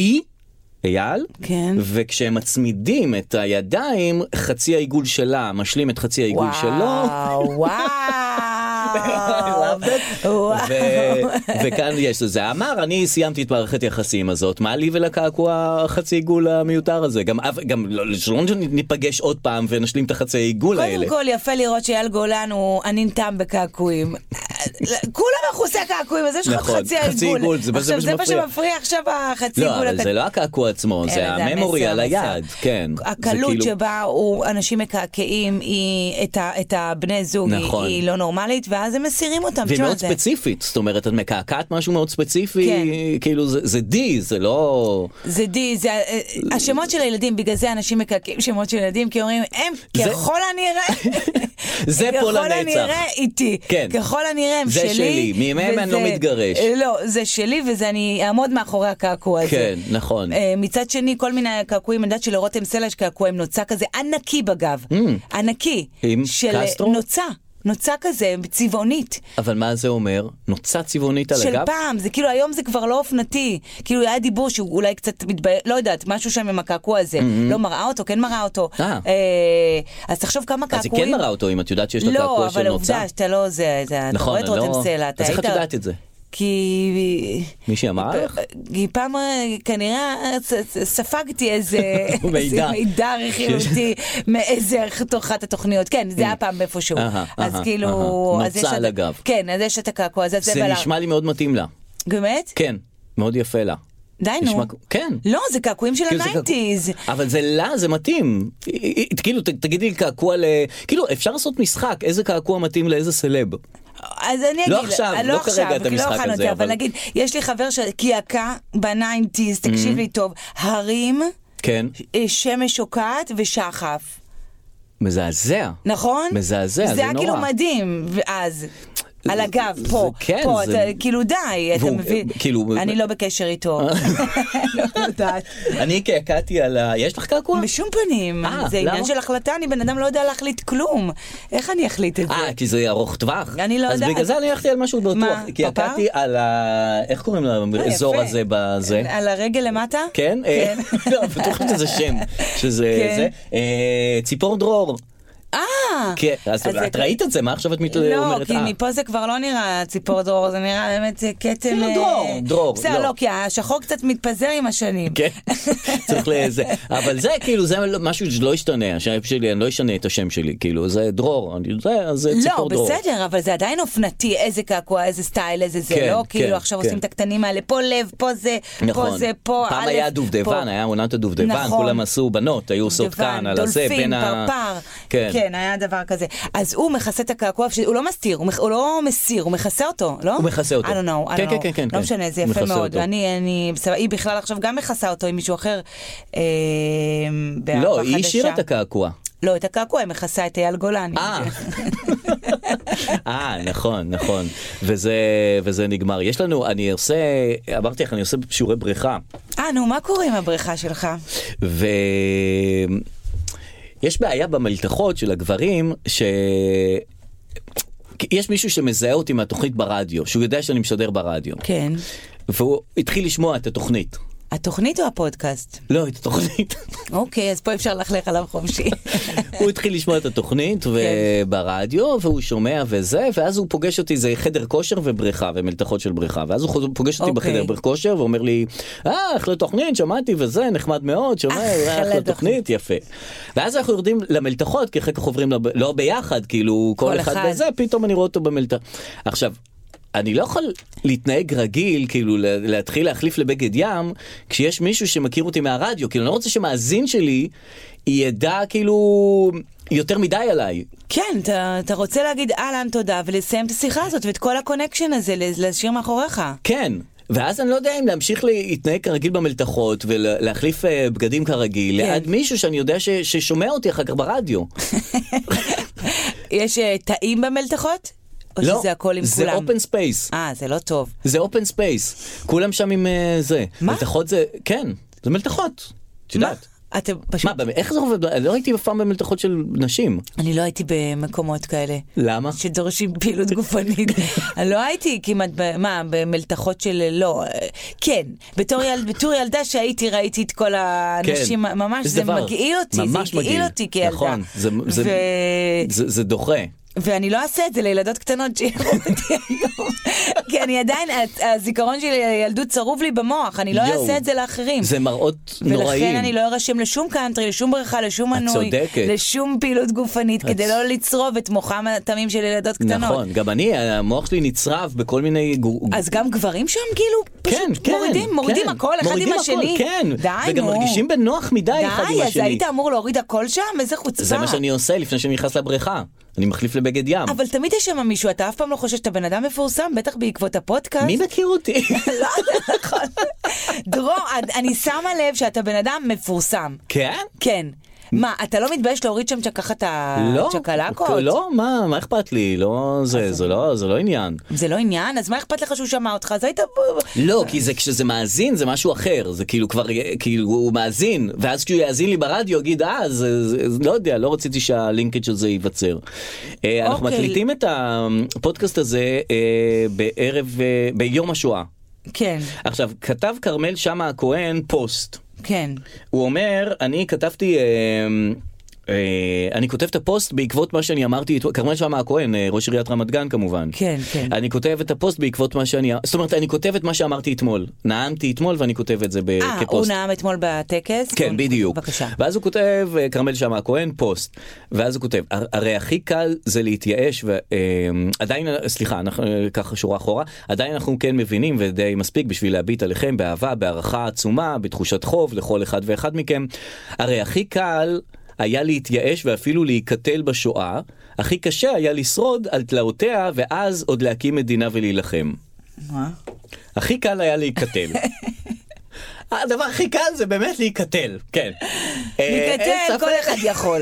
S3: אייל,
S4: כן.
S3: וכשהם מצמידים את הידיים, חצי העיגול שלה משלים את חצי העיגול שלו.
S4: וואו, וואו.
S3: אהבת?
S4: וואו.
S3: ו- וכאן יש לזה, אמר אני סיימתי את מערכת היחסים הזאת, מה לי ולקעקוע החצי עיגול המיותר הזה? גם אף- גם לא- שלא ניפגש עוד פעם ונשלים את החצי עיגול האלה. לא,
S4: קודם כל, יפה לראות שאייל גולן הוא הננתם בקעקועים. כולם מכוסי הקעקועים, אז יש לך
S3: נכון,
S4: חצי
S3: חצי
S4: העיגול.
S3: עיגול, זה- זה
S4: עכשיו,
S3: מה
S4: זה מה
S3: שמפריע.
S4: שמפריע עכשיו, החצי
S3: לא,
S4: עיגול.
S3: אבל זה
S4: אתה-
S3: לא הקעקוע עצמו,
S4: כן,
S3: זה הממורי
S4: המסר,
S3: על
S4: המסר.
S3: היד, כן. זה
S4: הקלות
S3: כאילו-
S4: שבה הוא- אנשים מקעקעים היא- את ה- את הבני זוג היא-
S3: נכון.
S4: היא לא נורמלית, ואז הם מסירים אותם.
S3: והיא
S4: תשמע,
S3: מאוד
S4: זה-
S3: ספציפית, זאת אומרת, את מקעקעת משהו מאוד
S4: כן.
S3: ספציפי, כאילו זה- זה די, זה לא...
S4: זה די, זה אה, השמות של הילדים, בגלל זה אנשים מקעקעים שמות של ילדים, כי אומרים, הם
S3: זה-
S4: ככל הנראה,
S3: זה פה
S4: ככל
S3: לנצח.
S4: הנראה איתי,
S3: כן.
S4: ככל הנראה הם
S3: זה
S4: שלי,
S3: שלי, מימיהם אני לא
S4: וזה-
S3: מתגרש.
S4: אה, לא, זה שלי וזה אני אעמוד מאחורי הקעקוע הזה.
S3: כן, נכון.
S4: אה, מצד שני, כל מיני קעקועים, אני יודעת שלרותם סלע יש קעקוע עם נוצה כזה, ענקי בגב, ענקי,
S3: Mm. עם
S4: של אה,
S3: קסטרו?
S4: נוצה. נוצה כזה, צבעונית,
S3: אבל מה זה אומר? נוצה צבעונית על
S4: של
S3: הגב?
S4: פעם, זה כאילו היום זה כבר לא אופנתי, כאילו היה דיבור שהוא אולי קצת מתבייש, לא יודעת, משהו שם עם הקעקוע הזה, לא מראה אותו, כן מראה אותו,
S3: Mm-hmm. אה.
S4: אה, אז תחשוב כמה
S3: אז היא
S4: קעקועים,
S3: כן מראה אותו אם את יודעת שיש לה
S4: לא,
S3: קעקוע של
S4: אבל
S3: נוצה.
S4: עובדה שאתה לא זה, זה- אתה
S3: נכון,
S4: רואה את
S3: אני לא-
S4: רותם סלע, אתה
S3: אז איך את
S4: היית-
S3: יודעת את זה? אה,
S4: כי...
S3: מישהי אמרה לך?
S4: היא פעם אה, כנראה אה, ס- ס- ספגתי איזה
S3: מידע.
S4: איזה מידע רכילותי מאיזה אחת התוכניות, כן, זה היה פעם איפשהו,
S3: Mm. אהה,
S4: אז
S3: אהה,
S4: כאילו,
S3: אהה.
S4: אז יש
S3: נוצה
S4: את-
S3: על הגב.
S4: כן, אז יש את הקעקוע הזה,
S3: זה
S4: בלם.
S3: נשמע לי מאוד מתאים לה.
S4: באמת?
S3: כן, מאוד יפה לה.
S4: די נו.
S3: נשמע כ- כן.
S4: לא, זה קעקועים של
S3: כאילו זה
S4: הניינטיז.
S3: קעקוע- אבל זה לה, זה מתאים. היא- היא- היא- כאילו, ת- תגידי לי קעקוע ל... כאילו, אפשר לעשות משחק, איזה קעקוע מתאים לאיזה סלב.
S4: אז אני אגיד,
S3: לא עכשיו,
S4: אה,
S3: לא כרגע את
S4: כי
S3: המשחק
S4: הכנו את
S3: הזה,
S4: זה, אבל
S3: אבל-
S4: נגיד, יש לי חבר שקעקע בניינטיז, תקשיב
S3: Mm-hmm.
S4: לי טוב, הרים,
S3: כן.
S4: אה, שמש שוקעת ושחף.
S3: מזעזע.
S4: נכון?
S3: מזעזע, זה
S4: זה היה
S3: נורא.
S4: כאילו מדהים, אז. על הגב,
S3: זה-
S4: פה,
S3: כן,
S4: פה,
S3: זה-
S4: אתה- כאילו די, אתה
S3: והוא,
S4: מבין,
S3: אה, כאילו- אה.
S4: אני לא בקשר איתו, לא יודעת,
S3: אני קעקעתי על ה... יש לך קעקוע?
S4: בשום פנים,
S3: אה,
S4: זה עניין
S3: למה?
S4: של החלטה, אני בן אדם לא יודע להחליט כלום, איך אני אחליט את זה?
S3: אה, כי זה ארוך טווח.
S4: כן. אני לא יודעת.
S3: אז בגלל זה אני הלכתי על משהו בטוח.
S4: מה,
S3: כי
S4: פפר?
S3: קעקעתי על ה... איך קוראים לאזור
S4: יפה. אה,
S3: הזה בזה?
S4: על הרגל למטה?
S3: כן? אה, לא, בטוח שזה שם, שזה
S4: כן.
S3: זה. אה, ציפור דרור.
S4: אה!
S3: כן, אז
S4: אז זה-
S3: את ראית את זה, מה עכשיו את מת-
S4: לא,
S3: אומרת?
S4: כי
S3: אה,
S4: מפה זה כבר לא נראה ציפור דרור, זה נראה באמת אה, כתם...
S3: כאילו
S4: אה,
S3: דרור, דרור,
S4: בסדר,
S3: לא.
S4: לא, כי השחור קצת מתפזר עם השנים.
S3: כן, צריך לזה, אבל זה כאילו, זה לא- משהו שלא ישתנה, השם שלי, אני לא אשנה את השם שלי, כאילו, זה דרור, אני יודע, אז זה
S4: לא,
S3: ציפור דרור.
S4: בסדר, אבל זה עדיין אופנתי, איזה קעקוע, איזה סטייל, איזה זה,
S3: כן,
S4: לא?
S3: כן,
S4: כאילו עכשיו
S3: כן.
S4: עושים את הקטנים האלה, פה לב, פה זה, פה
S3: נכון,
S4: זה, פה,
S3: פעם
S4: א',
S3: היה
S4: פה.
S3: דובדבן, היה עונת הדובדבן,
S4: נכון.
S3: כולם עשו בנות, היו עושות
S4: דובדבן,
S3: כאן על הזה,
S4: דולפין,
S3: בין ה...
S4: פרפר,
S3: כן.
S4: כן, היה דבר כזה. אז הוא מכסה את הקעקוע, ש- הוא לא מסתיר, הוא מכ- הוא לא מסיר, הוא מכסה אותו, לא?
S3: הוא מכסה אותו.
S4: I don't know, I
S3: כן,
S4: don't
S3: כן,
S4: know.
S3: כן, כן,
S4: לא
S3: כן.
S4: משנה, זה
S3: הוא
S4: יפה
S3: מכסה
S4: מאוד.
S3: אותו.
S4: אני, אני, בסדר, היא בכלל עכשיו גם מכסה אותו עם מישהו אחר. אה, באהבה
S3: לא, היא
S4: חדשה.
S3: השאירה את הקעקוע.
S4: לא, את הקעקוע, היא מכסה את אייל גולני.
S3: אה. אה, נכון, נכון. וזה, וזה נגמר. יש לנו, אני עושה, אמרתי לך, אני עושה שיעורי בריכה,
S4: אה, נו, מה קורה עם הבריכה שלך?
S3: ו... יש בעיה במלתחות של הגברים, ש... יש מישהו שמזהה אותי מהתוכנית ברדיו, שהוא יודע שאני משדר ברדיו,
S4: כן.
S3: והוא התחיל לשמוע את התוכנית.
S4: התוכנית או הפודקאסט?
S3: לא, את התוכנית.
S4: אוקיי, אז פה אפשר ללכלך עליו חופשי.
S3: הוא התחיל לשמוע את
S4: כן.
S3: התוכנית ו- ברדיו, והוא שומע וזה, ואז הוא פוגש אותי, זה חדר כושר ובריכה, ומלתחות של בריכה, ואז הוא חוזר- פוגש אותי
S4: אוקיי.
S3: בחדר בר- כושר ואומר לי, אה, אחלה תוכנית, שמעתי וזה, נחמד מאוד, שומע,
S4: אחלה
S3: אה, אחלה
S4: תוכנית."
S3: תוכנית, יפה. ואז אנחנו יורדים למלתחות, כי אחר כך עוברים, לב- לא ביחד, כאילו,
S4: כל
S3: כל אחד
S4: אחד.
S3: בזה, פתאום אני רואה אותו במלתח. עכשיו, אני לא יכול להתנהג רגיל, כאילו לה- להתחיל להחליף לבגד ים, כשיש מישהו שמכיר אותי מהרדיו, כאילו אני לא רוצה שמאזין שלי ידע כאילו יותר מדי עליי.
S4: כן, אתה, אתה רוצה להגיד אהלן תודה ולסיים את השיחה הזאת ואת כל הקונקשן הזה ל- להשאיר מאחוריך.
S3: כן. ואז אני לא יודע אם להמשיך להתנהג כרגיל במלתחות ולהחליף אה, בגדים כרגיל
S4: כן.
S3: ליד מישהו שאני יודע ש- ששומע אותי אחר כך ברדיו.
S4: יש אה, תאים במלתחות? או
S3: לא,
S4: שזה הכל עם
S3: זה
S4: כולם?
S3: אופן ספייס.
S4: אה, זה לא טוב.
S3: זה אופן ספייס. כולם שם עם אה, זה.
S4: מה?
S3: מלתחות זה, כן, זה מלתחות. את יודעת.
S4: מה? אתם פשוט...
S3: מה, באמת, איך זה עובד? לא הייתי אף פעם במלתחות של נשים.
S4: אני לא הייתי במקומות כאלה.
S3: למה?
S4: שדורשים פעילות גופנית. אני לא הייתי כמעט, ב- מה, במלתחות של... לא, אה, כן. בתור, יל, בתור ילדה שהייתי, ראיתי את כל האנשים,
S3: כן.
S4: ממש,
S3: יש
S4: זה
S3: דבר.
S4: מגעיל אותי,
S3: ממש
S4: זה הגעיל
S3: מגעיל.
S4: אותי כילדה.
S3: נכון, זה- זה-
S4: ו...
S3: זה זה דוחה.
S4: ואני לא אעשה את זה לילדות קטנות שיראו אותי היום, כי אני עדיין, ה- הזיכרון של הילדות צרוב לי במוח, אני לא
S3: יואו.
S4: אעשה את זה לאחרים.
S3: זה מראות נוראים.
S4: ולכן אני לא ארשם לשום קאנטרי, לשום בריכה, לשום
S3: את
S4: מנוי,
S3: צודקת.
S4: לשום פעילות גופנית, כדי לא לצרוב את מוחם התמים של ילדות קטנות.
S3: נכון, גם אני, המוח שלי נצרב בכל מיני גור-
S4: אז גם גברים שם כאילו פשוט
S3: כן, כן,
S4: מורידים, מורידים
S3: כן.
S4: הכל אחד
S3: מורידים
S4: עם
S3: הכל,
S4: השני.
S3: כן,
S4: די,
S3: וגם
S4: נו.
S3: מרגישים בנוח מדי אחד עם
S4: די, אז
S3: השני.
S4: היית אמור להוריד הכל שם? איזה חוצפה.
S3: זה מה שאני עושה לפני שאני נכנס לבריכה. אני מחליף לבגד ים.
S4: אבל תמיד יש שם מישהו, אתה אף פעם לא חושב שאתה בן אדם מפורסם, בטח בעקבות הפודקאסט.
S3: מי מכיר אותי?
S4: לא, זה נכון. דרור, אני שמה לב שאתה בן אדם מפורסם.
S3: כן?
S4: כן. מה, אתה לא מתבייש להוריד שם ככה את
S3: לא,
S4: הצ'קלקות?
S3: לא, מה, מה אכפת לי? לא, זה, זה לא, זה לא עניין.
S4: זה לא עניין? אז מה אכפת לך שהוא שמע אותך? אז היית...
S3: לא, כי זה כשזה מאזין זה משהו אחר, זה כאילו כבר, יהיה- כאילו הוא מאזין, ואז כשהוא יאזין לי ברדיו יגיד, אה, זה, זה, זה לא יודע, לא רציתי שהלינקג' הזה ייווצר. אוקיי. אנחנו
S4: אוקיי.
S3: מקליטים את הפודקאסט הזה אה, בערב, אה, ביום השואה.
S4: כן,
S3: עכשיו, כתב כרמל שאמה הכהן פוסט.
S4: כן.
S3: הוא אומר, אני כתבתי... אה, אה, אני כותב את הפוסט בעקבות מה שאני אמרתי, את- כרמל שאמה הכהן, אה, ראש עיריית רמת גן כמובן.
S4: כן, כן.
S3: אני כותב את הפוסט בעקבות מה שאני, זאת אומרת, אני כותב את מה שאמרתי אתמול. נאמתי אתמול ואני כותב את זה ב-
S4: אה,
S3: כפוסט.
S4: הוא נאם אתמול בטקס?
S3: כן, בדיוק.
S4: בבקשה.
S3: ואז הוא כותב, אה, כרמל שאמה הכהן, פוסט. ואז הוא כותב, "הר- הרי הכי קל זה להתייאש, ועדיין, סליחה, אנחנו אה, ככה שורה אחורה, עדיין אנחנו כן מבינים ודי מספיק בשביל להביט עליכם באהבה, בהערכה עצומה, בתחושת חוב לכל אחד ואחד מכם. הרי הכי קל... היה להתייאש ואפילו להיקטל בשואה, הכי קשה היה לשרוד על תלאותיה ואז עוד להקים מדינה ולהילחם.
S4: מה?
S3: הכי קל היה להיקטל. הדבר הכי קל זה באמת להיקטל, כן. אה, אין
S4: להיקטל,
S3: ספק.
S4: כל אחד יכול.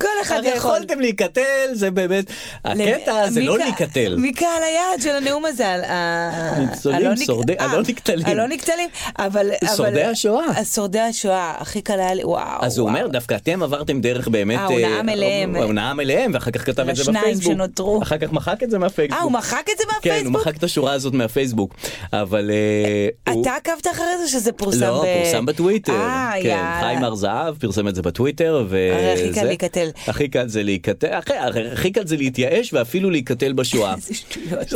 S4: כל אחד
S3: הרי
S4: יכול.
S3: יכולתם להיקטל, זה באמת, הקטע זה
S4: מי
S3: לא
S4: קה-
S3: להיקטל.
S4: מי קהל היעד של הנאום הזה? על ה-
S3: ניצולים,
S4: הלא נק-
S3: שורדי-
S4: אה,
S3: הלא נקטלים.
S4: הלא נקטלים, אבל... אבל-
S3: שורדי השואה.
S4: אז שורדי השואה, הכי קל היה לי, וואו.
S3: אז הוא
S4: וואו.
S3: אומר, דווקא אתם עברתם דרך באמת...
S4: אה, הוא
S3: אה,
S4: נאם אליהם.
S3: הוא נאם אליהם, ואחר כך כתב את זה
S4: לשניים
S3: בפייסבוק.
S4: שנותרו.
S3: אחר כך מחק את זה מהפייסבוק.
S4: אה, הוא מחק את זה
S3: כן, הוא
S4: מהפייסבוק?
S3: מחק את השורה הזאת מהפייסבוק. אבל... אה, הוא-
S4: אתה עקבת אחרי זה שזה פורסם ב...
S3: לא, פורסם בטוויטר.
S4: אה,
S3: כן,
S4: יאללה.
S3: חיים הר זהב פרסם את זה בטוויטר. ו-
S4: הרי הכי קל
S3: זה-
S4: להיקטל.
S3: הכי קל זה להיקטל, הכי- הרי הכי קל זה להתייאש ואפילו להיקטל בשואה.
S4: איזה שטויות.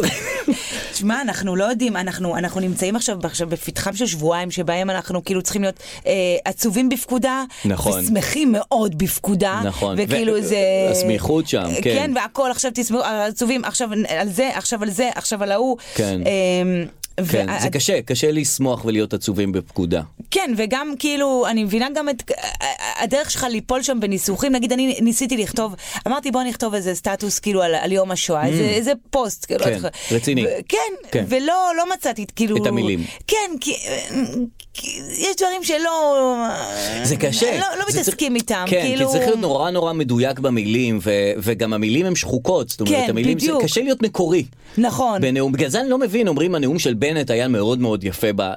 S4: תשמע, אנחנו לא יודעים, אנחנו, אנחנו נמצאים עכשיו, עכשיו בפתחם של שבועיים שבהם אנחנו כאילו צריכים להיות אה, עצובים בפקודה,
S3: נכון.
S4: ושמחים מאוד בפקודה,
S3: נכון.
S4: וכאילו
S3: ו-
S4: זה...
S3: הסמיכות שם, כן.
S4: כן, והכל, עכשיו תשמחו, עצובים, עכשיו על זה, עכשיו על זה, עכשיו על ההוא.
S3: כן.
S4: אה,
S3: כן,
S4: וה-
S3: זה קשה, קשה לשמוח ולהיות עצובים בפקודה.
S4: כן, וגם כאילו, אני מבינה גם את הדרך שלך ליפול שם בניסוחים. נגיד, אני ניסיתי לכתוב, אמרתי בוא נכתוב איזה סטטוס כאילו על, על יום השואה, איזה, איזה פוסט. כאילו,
S3: Mm. כן,
S4: לא זוכרת.
S3: רציני.
S4: ו- כן,
S3: כן.
S4: כן, ולא לא מצאתי כאילו...
S3: את המילים.
S4: כן, כי, כי יש דברים שלא...
S3: זה קשה.
S4: לא, לא
S3: זה
S4: מתעסקים
S3: צריך-
S4: איתם.
S3: כן,
S4: כאילו...
S3: כי צריך להיות נורא נורא מדויק במילים, ו- וגם המילים הן שחוקות. זאת אומרת,
S4: כן,
S3: המילים, זה-
S4: בדיוק.
S3: קשה להיות מקורי.
S4: נכון.
S3: בנאום, בגלל זה אני לא מבין, אומרים הנאום של בנט היה מאוד מאוד יפה, ב... נ-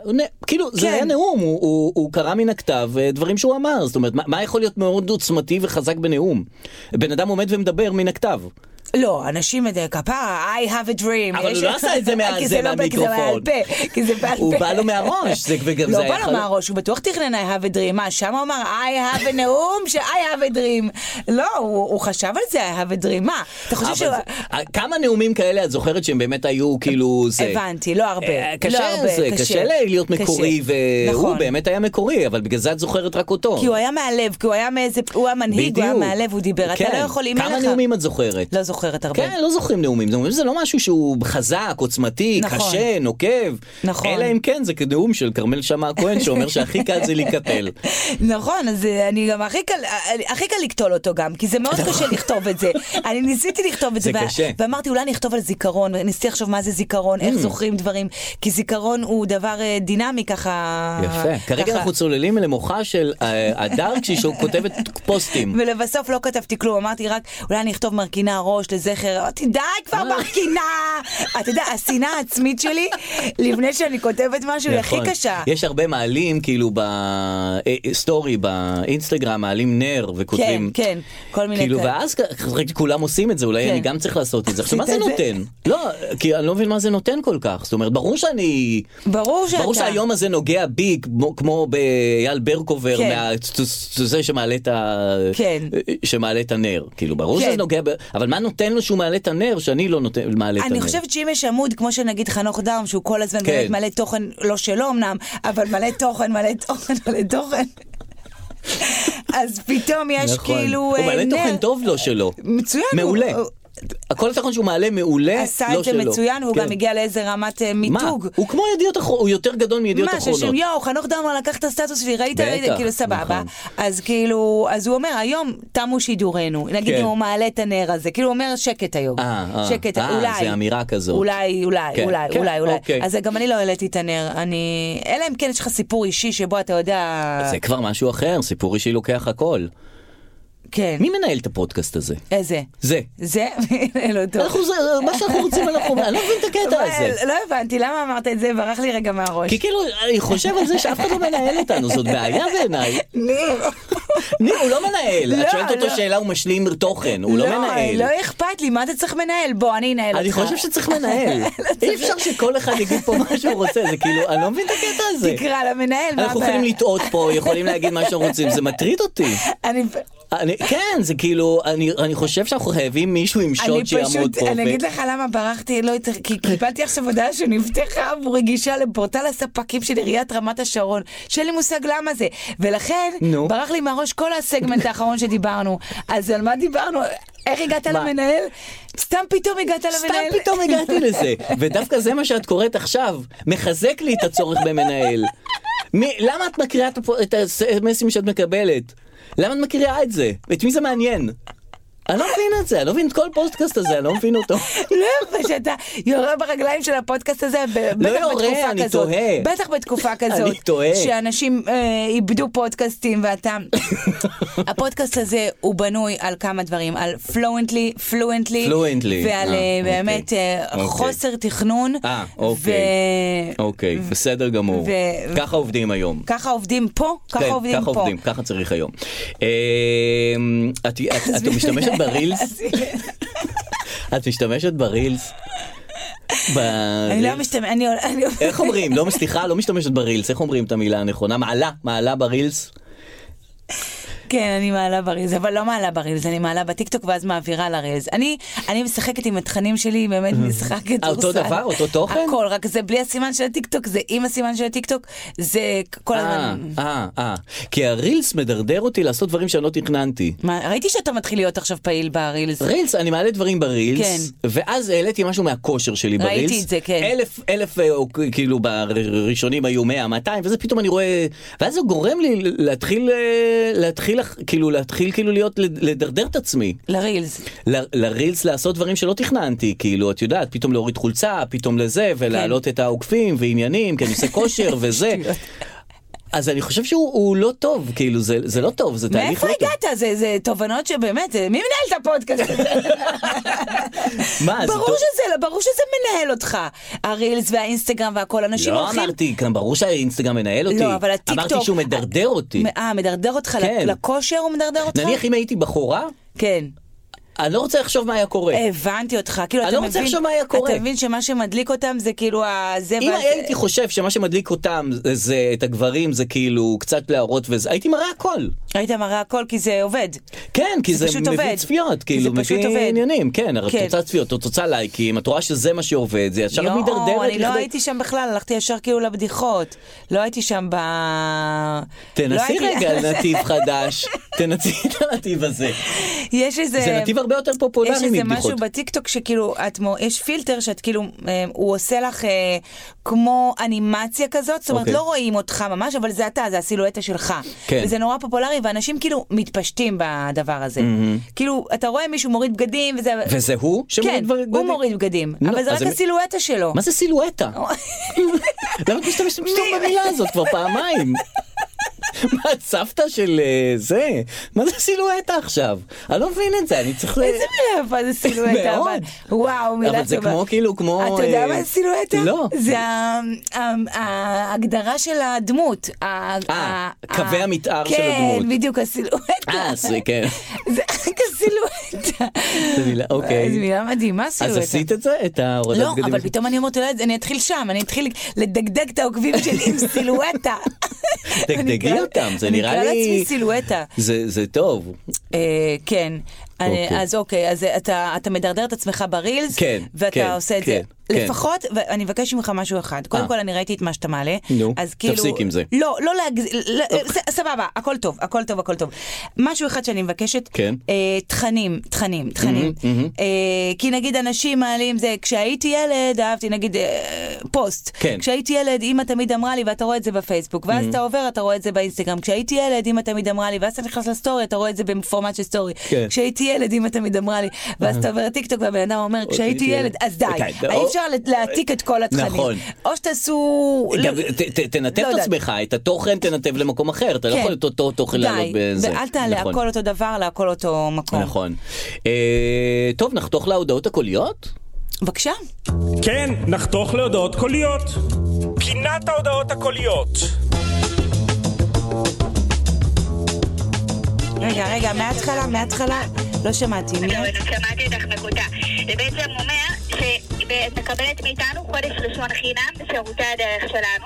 S3: כאילו
S4: כן.
S3: זה היה נאום, הוא, הוא, הוא קרא מן הכתב אה, דברים שהוא אמר, זאת אומרת מה, מה יכול להיות מאוד עוצמתי וחזק בנאום? בן אדם עומד ומדבר מן הכתב.
S4: לא, אנשים את זה, כפרה, I have a dream.
S3: אבל
S4: יש-
S3: הוא לא עשה את זה מה-
S4: כי
S3: זה
S4: לא- כי זה
S3: מהמיקרופון.
S4: בעל פה, כי זה בעל פה.
S3: הוא בא לו מהראש, זה- וגם זה
S4: לא
S3: היה
S4: בא לו
S3: חלום.
S4: מהראש, הוא בטוח תכנן I have a dream. מה, שם הוא אמר I have a נאום ש- I have a dream. לא, הוא הוא חשב על זה, I have a dream. מה, אתה חושב
S3: אבל
S4: ש...
S3: זה- אה, כמה נאומים כאלה את זוכרת שהם באמת היו כאילו זה?
S4: הבנתי, לא הרבה.
S3: אה,
S4: לא
S3: קשה
S4: הרבה,
S3: זה, קשה להיות
S4: קשה.
S3: מקורי, והוא
S4: נכון.
S3: באמת היה מקורי, אבל בגלל זה את זוכרת רק אותו.
S4: כי הוא היה מהלב, כי הוא היה מאיזה... הוא היה מנהיג, הוא היה
S3: בדיוק.
S4: מהלב, הוא דיבר. אתה
S3: כן.
S4: לא יכול, אם אין לך...
S3: כמה נאומים את זוכרת?
S4: לא זוכרת הרבה.
S3: כן, לא זוכרים נאומים. זה אומרים, זה לא משהו שהוא חזק, עוצמתי,
S4: נכון.
S3: קשה, נוקב.
S4: נכון.
S3: אלא אם כן, זה נאום של כרמל שאמה הכהן, שאומר שהכי קל זה להיקטל.
S4: נכון, אז אה, אני גם הכי קל, אה, הכי קל לקטול אותו גם, כי זה מאוד קשה לכתוב את זה. אני ניסיתי לכתוב את זה,
S3: נכון. זה
S4: וה-
S3: קשה. Mm.
S4: ואמרתי אולי אני אכתוב על זיכרון, ניסיתי לחשוב מה זה זיכרון, איך זוכרים דברים, כי זיכרון הוא דבר אה, דינמי ככה.
S3: יפה. כרגע
S4: ככה.
S3: אנחנו צוללים למוחה של אה, הדר כשהיא שו- כותבת פוסטים.
S4: ולבסוף לא כתבתי כלום, אמרתי רק, אולי אני אכתוב מרכינה ראש לזכר, אמרתי די
S3: אה.
S4: כבר מרכינה! אתה יודע, השנאה העצמית שלי, לפני שאני כותבת משהו, היא הכי
S3: נכון.
S4: קשה.
S3: יש הרבה מעלים כאילו בסטורי באינסטגרם מעלים נר
S4: כן,
S3: וכותבים
S4: כן, כל מיני
S3: כאילו
S4: כאלה.
S3: ואז כ- כולם עושים את זה אולי
S4: כן.
S3: אני גם צריך לעשות את זה עכשיו מה זה
S4: עשית את זה?
S3: נותן לא כי אני לא מבין מה זה נותן כל כך זאת אומרת ברור שאני
S4: ברור שאתה.
S3: ברור שהיום הזה נוגע בי כמו, כמו באייל ברקובר
S4: כן.
S3: מה, זה שמעלה את ה...
S4: כן.
S3: שמעלה את הנר כאילו ברור
S4: כן.
S3: שזה נוגע ב... אבל מה נותן לו שהוא מעלה את הנר שאני לא נותן מעלה את הנר.
S4: אני חושבת שאם יש עמוד, כמו שנגיד חנוך דאום, שהוא כל הזמן
S3: כן.
S4: באמת מלא תוכן, לא שלו אמנם, אבל מלא תוכן, מלא תוכן, מלא תוכן. אז פתאום יש
S3: נכון.
S4: כאילו
S3: הוא
S4: אה,
S3: מעלה
S4: נר. אה,
S3: תוכן טוב לא שלו.
S4: מצוין. הוא-
S3: מעולה.
S4: הוא-
S3: הכל תוכן שהוא מעלה מעולה
S4: עשה
S3: לא
S4: את זה
S3: שלו.
S4: מצוין, והוא
S3: כן.
S4: גם הגיע לאיזה רמת אה,
S3: מה?
S4: מיתוג.
S3: הוא כמו ידיעות אחרונות, הוא יותר גדול מידיעות
S4: מה,
S3: אחרונות.
S4: ששם יואו, חנוך דאום לקח את הסטטוס שלי, ראית?
S3: בטח,
S4: ראית? כאילו סבבה.
S3: נכון.
S4: אז כאילו, אז הוא אומר, היום תמו שידורנו. נגיד
S3: כן.
S4: אם הוא מעלה את הנר הזה, כאילו הוא אומר שקט היום.
S3: אה, אה,
S4: שקט,
S3: אה,
S4: אולי.
S3: זה אמירה כזאת.
S4: אולי, אולי,
S3: כן,
S4: אולי,
S3: כן,
S4: אולי, אולי.
S3: אוקיי.
S4: אז גם אני לא העליתי את הנר, אני... אלא אם כן יש לך סיפור אישי שבו אתה יודע...
S3: זה כבר משהו אחר, סיפור אישי לוקח הכל.
S4: כן.
S3: מי מנהל את הפודקאסט הזה?
S4: איזה?
S3: זה.
S4: זה? אין לו טוב.
S3: אנחנו זה, מה שאנחנו רוצים אנחנו, אני לא מבין את הקטע הזה.
S4: לא הבנתי, למה אמרת את זה? ברח לי רגע מהראש.
S3: כי כאילו, אני חושב על זה שאף אחד לא מנהל אותנו, זאת בעיה בעיניי.
S4: ניר.
S3: ניר, הוא לא מנהל. את
S4: לא,
S3: שואלת אותו
S4: לא.
S3: שאלה, הוא משלים תוכן, הוא לא מנהל.
S4: לא אכפת לי, מה אתה צריך מנהל? בוא, אני אנהל אותך.
S3: אני חושב שצריך
S4: לא,
S3: לנהל. אי אפשר שכל אחד יגיד פה מה שהוא רוצה, זה כאילו, אני לא מבין את הקטע הזה.
S4: תקרא למנהל, מה
S3: אנחנו
S4: הבעיה?
S3: יכולים לטעות פה, יכולים להגיד מה שאנחנו רוצים, זה מטריד אותי.
S4: אני
S3: אני, כן, זה כאילו, אני, אני חושב שאנחנו חייבים מישהו עם
S4: אני
S3: שוט שיעמוד
S4: פשוט,
S3: פה.
S4: אני
S3: ו-
S4: אגיד לך למה ברחתי, לא יותר, כי קיבלתי עכשיו הודעה שנפתחה עבור רגישה לפורטל הספקים של עיריית רמת השרון, שאין לי מושג למה זה, ולכן
S3: נו.
S4: ברח לי מהראש כל הסגמנט האחרון שדיברנו, אז על מה דיברנו? איך הגעת
S3: מה?
S4: למנהל? סתם פתאום הגעת
S3: סתם
S4: למנהל.
S3: פתאום הגעתי לזה, ודווקא זה מה שאת קוראת עכשיו, מחזק לי את הצורך במנהל. מי, למה את מקריאה את הפו- את הסמסים שאת מקבלת? למה את מקריאה את זה? את מי זה מעניין? אני לא מבין את זה, אני לא מבין את כל הפודקאסט הזה, אני לא מבין אותו.
S4: לא יפה שאתה יורה ברגליים של הפודקאסט הזה, ב- בטח
S3: לא יורה,
S4: בתקופה
S3: אני
S4: כזאת.
S3: תוהה.
S4: בטח בתקופה כזאת.
S3: אני תוהה.
S4: שאנשים אה, איבדו פודקאסטים ואתה... הפודקאסט הזה הוא בנוי על כמה דברים, על פלואנטלי, פלואנטלי,
S3: Fluently,
S4: ועל
S3: אה,
S4: אה,
S3: אוקיי.
S4: באמת אה,
S3: אוקיי.
S4: חוסר תכנון.
S3: אה, אוקיי.
S4: ו-
S3: אוקיי, בסדר גמור.
S4: ו-
S3: ככה עובדים היום.
S4: ככה עובדים פה, ככה
S3: כן,
S4: עובדים
S3: ככה
S4: פה.
S3: עובדים, ככה צריך היום. אמ, את- את- את משתמשת ברילס? את משתמשת ברילס?
S4: אני לא
S3: ברילס?
S4: משתמש, אני... אני-
S3: איך אומרים? לא, סליחה, לא משתמשת ברילס, איך אומרים את המילה הנכונה? מעלה, מעלה ברילס?
S4: כן, אני מעלה ברילס, אבל לא מעלה ברילס, אני מעלה בטיקטוק ואז מעבירה לרילס. אני, אני משחקת עם התכנים שלי, באמת משחקת.
S3: אה, אותו
S4: זורסל.
S3: דבר? אותו תוכן?
S4: הכל, רק זה בלי הסימן של הטיקטוק, זה עם הסימן של הטיקטוק, זה כל
S3: אה,
S4: הזמן.
S3: אה, אה. כי הרילס מדרדר אותי לעשות דברים שאני לא תכננתי.
S4: מה, ראיתי שאתה מתחיל להיות עכשיו פעיל ברילס.
S3: רילס, אני מעלה דברים ברילס,
S4: כן.
S3: ואז העליתי משהו מהכושר שלי ברילס.
S4: ראיתי את זה, כן.
S3: אלף, אלף, אה, או, כאילו, בראשונים היו 100, 200, וזה פתאום אני רואה, ואז זה גורם לי להתחיל, אה, להתחיל, לח- כאילו, להתחיל כאילו להיות, לדרדר את עצמי.
S4: לרילס.
S3: ל- לרילס לעשות דברים שלא תכננתי, כאילו, את יודעת, פתאום להוריד חולצה, פתאום לזה, ולהעלות את העוקפים, ועניינים, כי אני עושה כושר, וזה.
S4: כן. שטויות.
S3: אז אני חושב שהוא הוא לא טוב, כאילו, זה, זה לא טוב, זה תהליך
S4: מאיפה
S3: לא טוב.
S4: הגעת? זה, זה תובנות שבאמת, זה- מי מנהל את הפודקאסט הזה?
S3: מה, זה טוב?
S4: ברור שזה, לא, ברור שזה מנהל אותך. הרילס והאינסטגרם והכל, אנשים
S3: לא
S4: הולכים...
S3: אמרתי, גם ברור שהאינסטגרם מנהל אותי.
S4: לא, אבל הטיקטוק...
S3: אמרתי שהוא מדרדר אותי.
S4: אה, מדרדר אותך
S3: כן.
S4: לכושר הוא מדרדר אותך?
S3: נניח אם הייתי בחורה,
S4: כן.
S3: אני לא רוצה לחשוב מה היה קורה.
S4: הבנתי אותך, כאילו,
S3: אני
S4: אתה
S3: לא רוצה
S4: מבין-
S3: לחשוב מה היה קורה.
S4: אתה מבין שמה שמדליק אותם זה כאילו ה... זה
S3: אם
S4: וה-
S3: הייתי חושב שמה שמדליק אותם זה- זה את הגברים זה כאילו קצת להראות וזה, הייתי מראה הכל.
S4: היית מראה הכל כי זה עובד.
S3: כן, כי
S4: זה
S3: זה,
S4: פשוט
S3: מביא
S4: עובד.
S3: צפיות,
S4: כי
S3: כאילו,
S4: זה פשוט
S3: מביא
S4: עובד.
S3: עניינים, כן, הרי
S4: כן.
S3: את רוצה צפיות, את רוצה לייקים, את רואה שזה מה שעובד, זה ישר את
S4: יואו,
S3: מידרדרת.
S4: אני לא
S3: לכדי-
S4: הייתי שם בכלל, הלכתי ישר כאילו לבדיחות. לא הייתי שם ב... לא
S3: תנסי
S4: הייתי-
S3: רגע נתיב חדש, תנסי את הנתיב הזה.
S4: יש איזה...
S3: זה נתיב הרבה יותר פופולרי
S4: כן. יש איזה
S3: מבדיחות.
S4: משהו בטיקטוק שכאילו, את, מו- יש פילטר שאת כאילו, אה, הוא עושה לך אה, כמו אנימציה כזאת, זאת אומרת
S3: אוקיי.
S4: לא רואים אותך ממש, אבל זה אתה, זה הסילואטה שלך.
S3: כן.
S4: וזה נורא פופולרי, ואנשים כאילו מתפשטים בדבר הזה. כאילו, אתה רואה מישהו מוריד בגדים, וזה...
S3: Mm-hmm. וזה הוא
S4: כן,
S3: שמוריד בגדים?
S4: הוא מוריד בגדים, לא.
S3: לא,
S4: אבל זה
S3: אז
S4: רק
S3: זה מ-
S4: הסילואטה שלו.
S3: מה זה סילואטה? למה את משתמשת פתאום במילה הזאת כבר פעמיים? מה, את סבתא של אה, זה? מה זה סילואטה עכשיו? אני לא מבין את זה, אני צריך... ל-
S4: איזה מילה יפה זה סילואטה, אבל
S3: מאוד.
S4: וואו, מילה טובה.
S3: אבל זה כמו כאילו, כמו...
S4: אתה יודע
S3: אה,
S4: מה זה סילואטה?
S3: לא.
S4: זה ה- ה- ההגדרה של הדמות. ה-
S3: אה,
S4: ה-
S3: קווי
S4: ה-
S3: המתאר של הדמות.
S4: כן, בדיוק, הסילואטה.
S3: אה, זה כן.
S4: זה רק הסילואטה.
S3: זה מילה, אוקיי.
S4: זו מילה מדהימה,
S3: אז
S4: סילואטה.
S3: עשית את זה? את ההורדת
S4: לא,
S3: בגדים?
S4: אבל פתאום אני אומרת, אולי אני אתחיל שם, אני אתחיל לדגדג את העוקבים שלי עם סילואטה.
S3: דגדגי
S4: אני אקרא-
S3: אותם, זה נראה
S4: אני אקרא
S3: לי-
S4: לעצמי סילואטה.
S3: זה זה טוב.
S4: אה, כן. אני-
S3: אוקיי.
S4: אז אוקיי, אז אתה אתה מדרדר את עצמך ברילס,
S3: כן, כן,
S4: ואתה עושה את זה.
S3: כן, כן.
S4: לפחות, ואני אבקש ממך משהו אחד. קודם
S3: אה.
S4: כל, אני ראיתי את מה שאתה מעלה.
S3: נו,
S4: אז כאילו...
S3: תפסיק עם זה.
S4: לא, לא להגזים, סבבה, הכל טוב, הכל טוב, הכל טוב. משהו אחד שאני מבקשת,
S3: כן. Mm-hmm,
S4: אה, תכנים, תכנים, תכנים. אה, כי נגיד אנשים מעלים זה, כשהייתי ילד, אהבתי נגיד אה, פוסט.
S3: כן.
S4: כשהייתי ילד, אמא תמיד אמרה לי, ואתה רואה את זה בפייסבוק,
S3: Mm-hmm.
S4: ואז אתה עובר, אתה רואה את זה באינסטגרם. כשהייתי ילד, אמא תמיד אמרה לי, ואז אתה נכנס לסטורי, אתה רואה את זה בפורמט של סטורי.
S3: כן. אה.
S4: כשהייתי ילד, אמא תמיד אמרה לי, ואז אתה עובר לטיקטוק, והבן אדם אומר, כשהייתי
S3: ילד."
S4: ילד, אז די.
S3: אוקיי,
S4: אי
S3: או-
S4: אפשר לה- להעתיק את כל התכנים.
S3: נכון.
S4: או שתעשו...
S3: גם
S4: לא-
S3: ת- ת- תנתב
S4: לא
S3: את
S4: יודעת.
S3: עצמך, את התוכן תנתב למקום אחר, אתה לא
S4: כן.
S3: יכול את אותו תוכן
S4: די,
S3: לעלות בזה.
S4: ואל תעלה
S3: נכון,
S4: הכל אותו דבר להכל אותו מקום.
S3: נכון. אה, טוב, נחתוך להודעות הקוליות?
S4: בבקשה.
S5: כן, נחתוך להודעות קוליות. פינת ההודעות הקוליות.
S4: רגע, רגע, מההתחלה, מההתחלה, לא שמעתי. מי-
S6: לא, שמעתי אותך מקוטע. זה בעצם אומר שאת מקבלת מאיתנו חודש ראשון חינם בשירותי הדרך שלנו.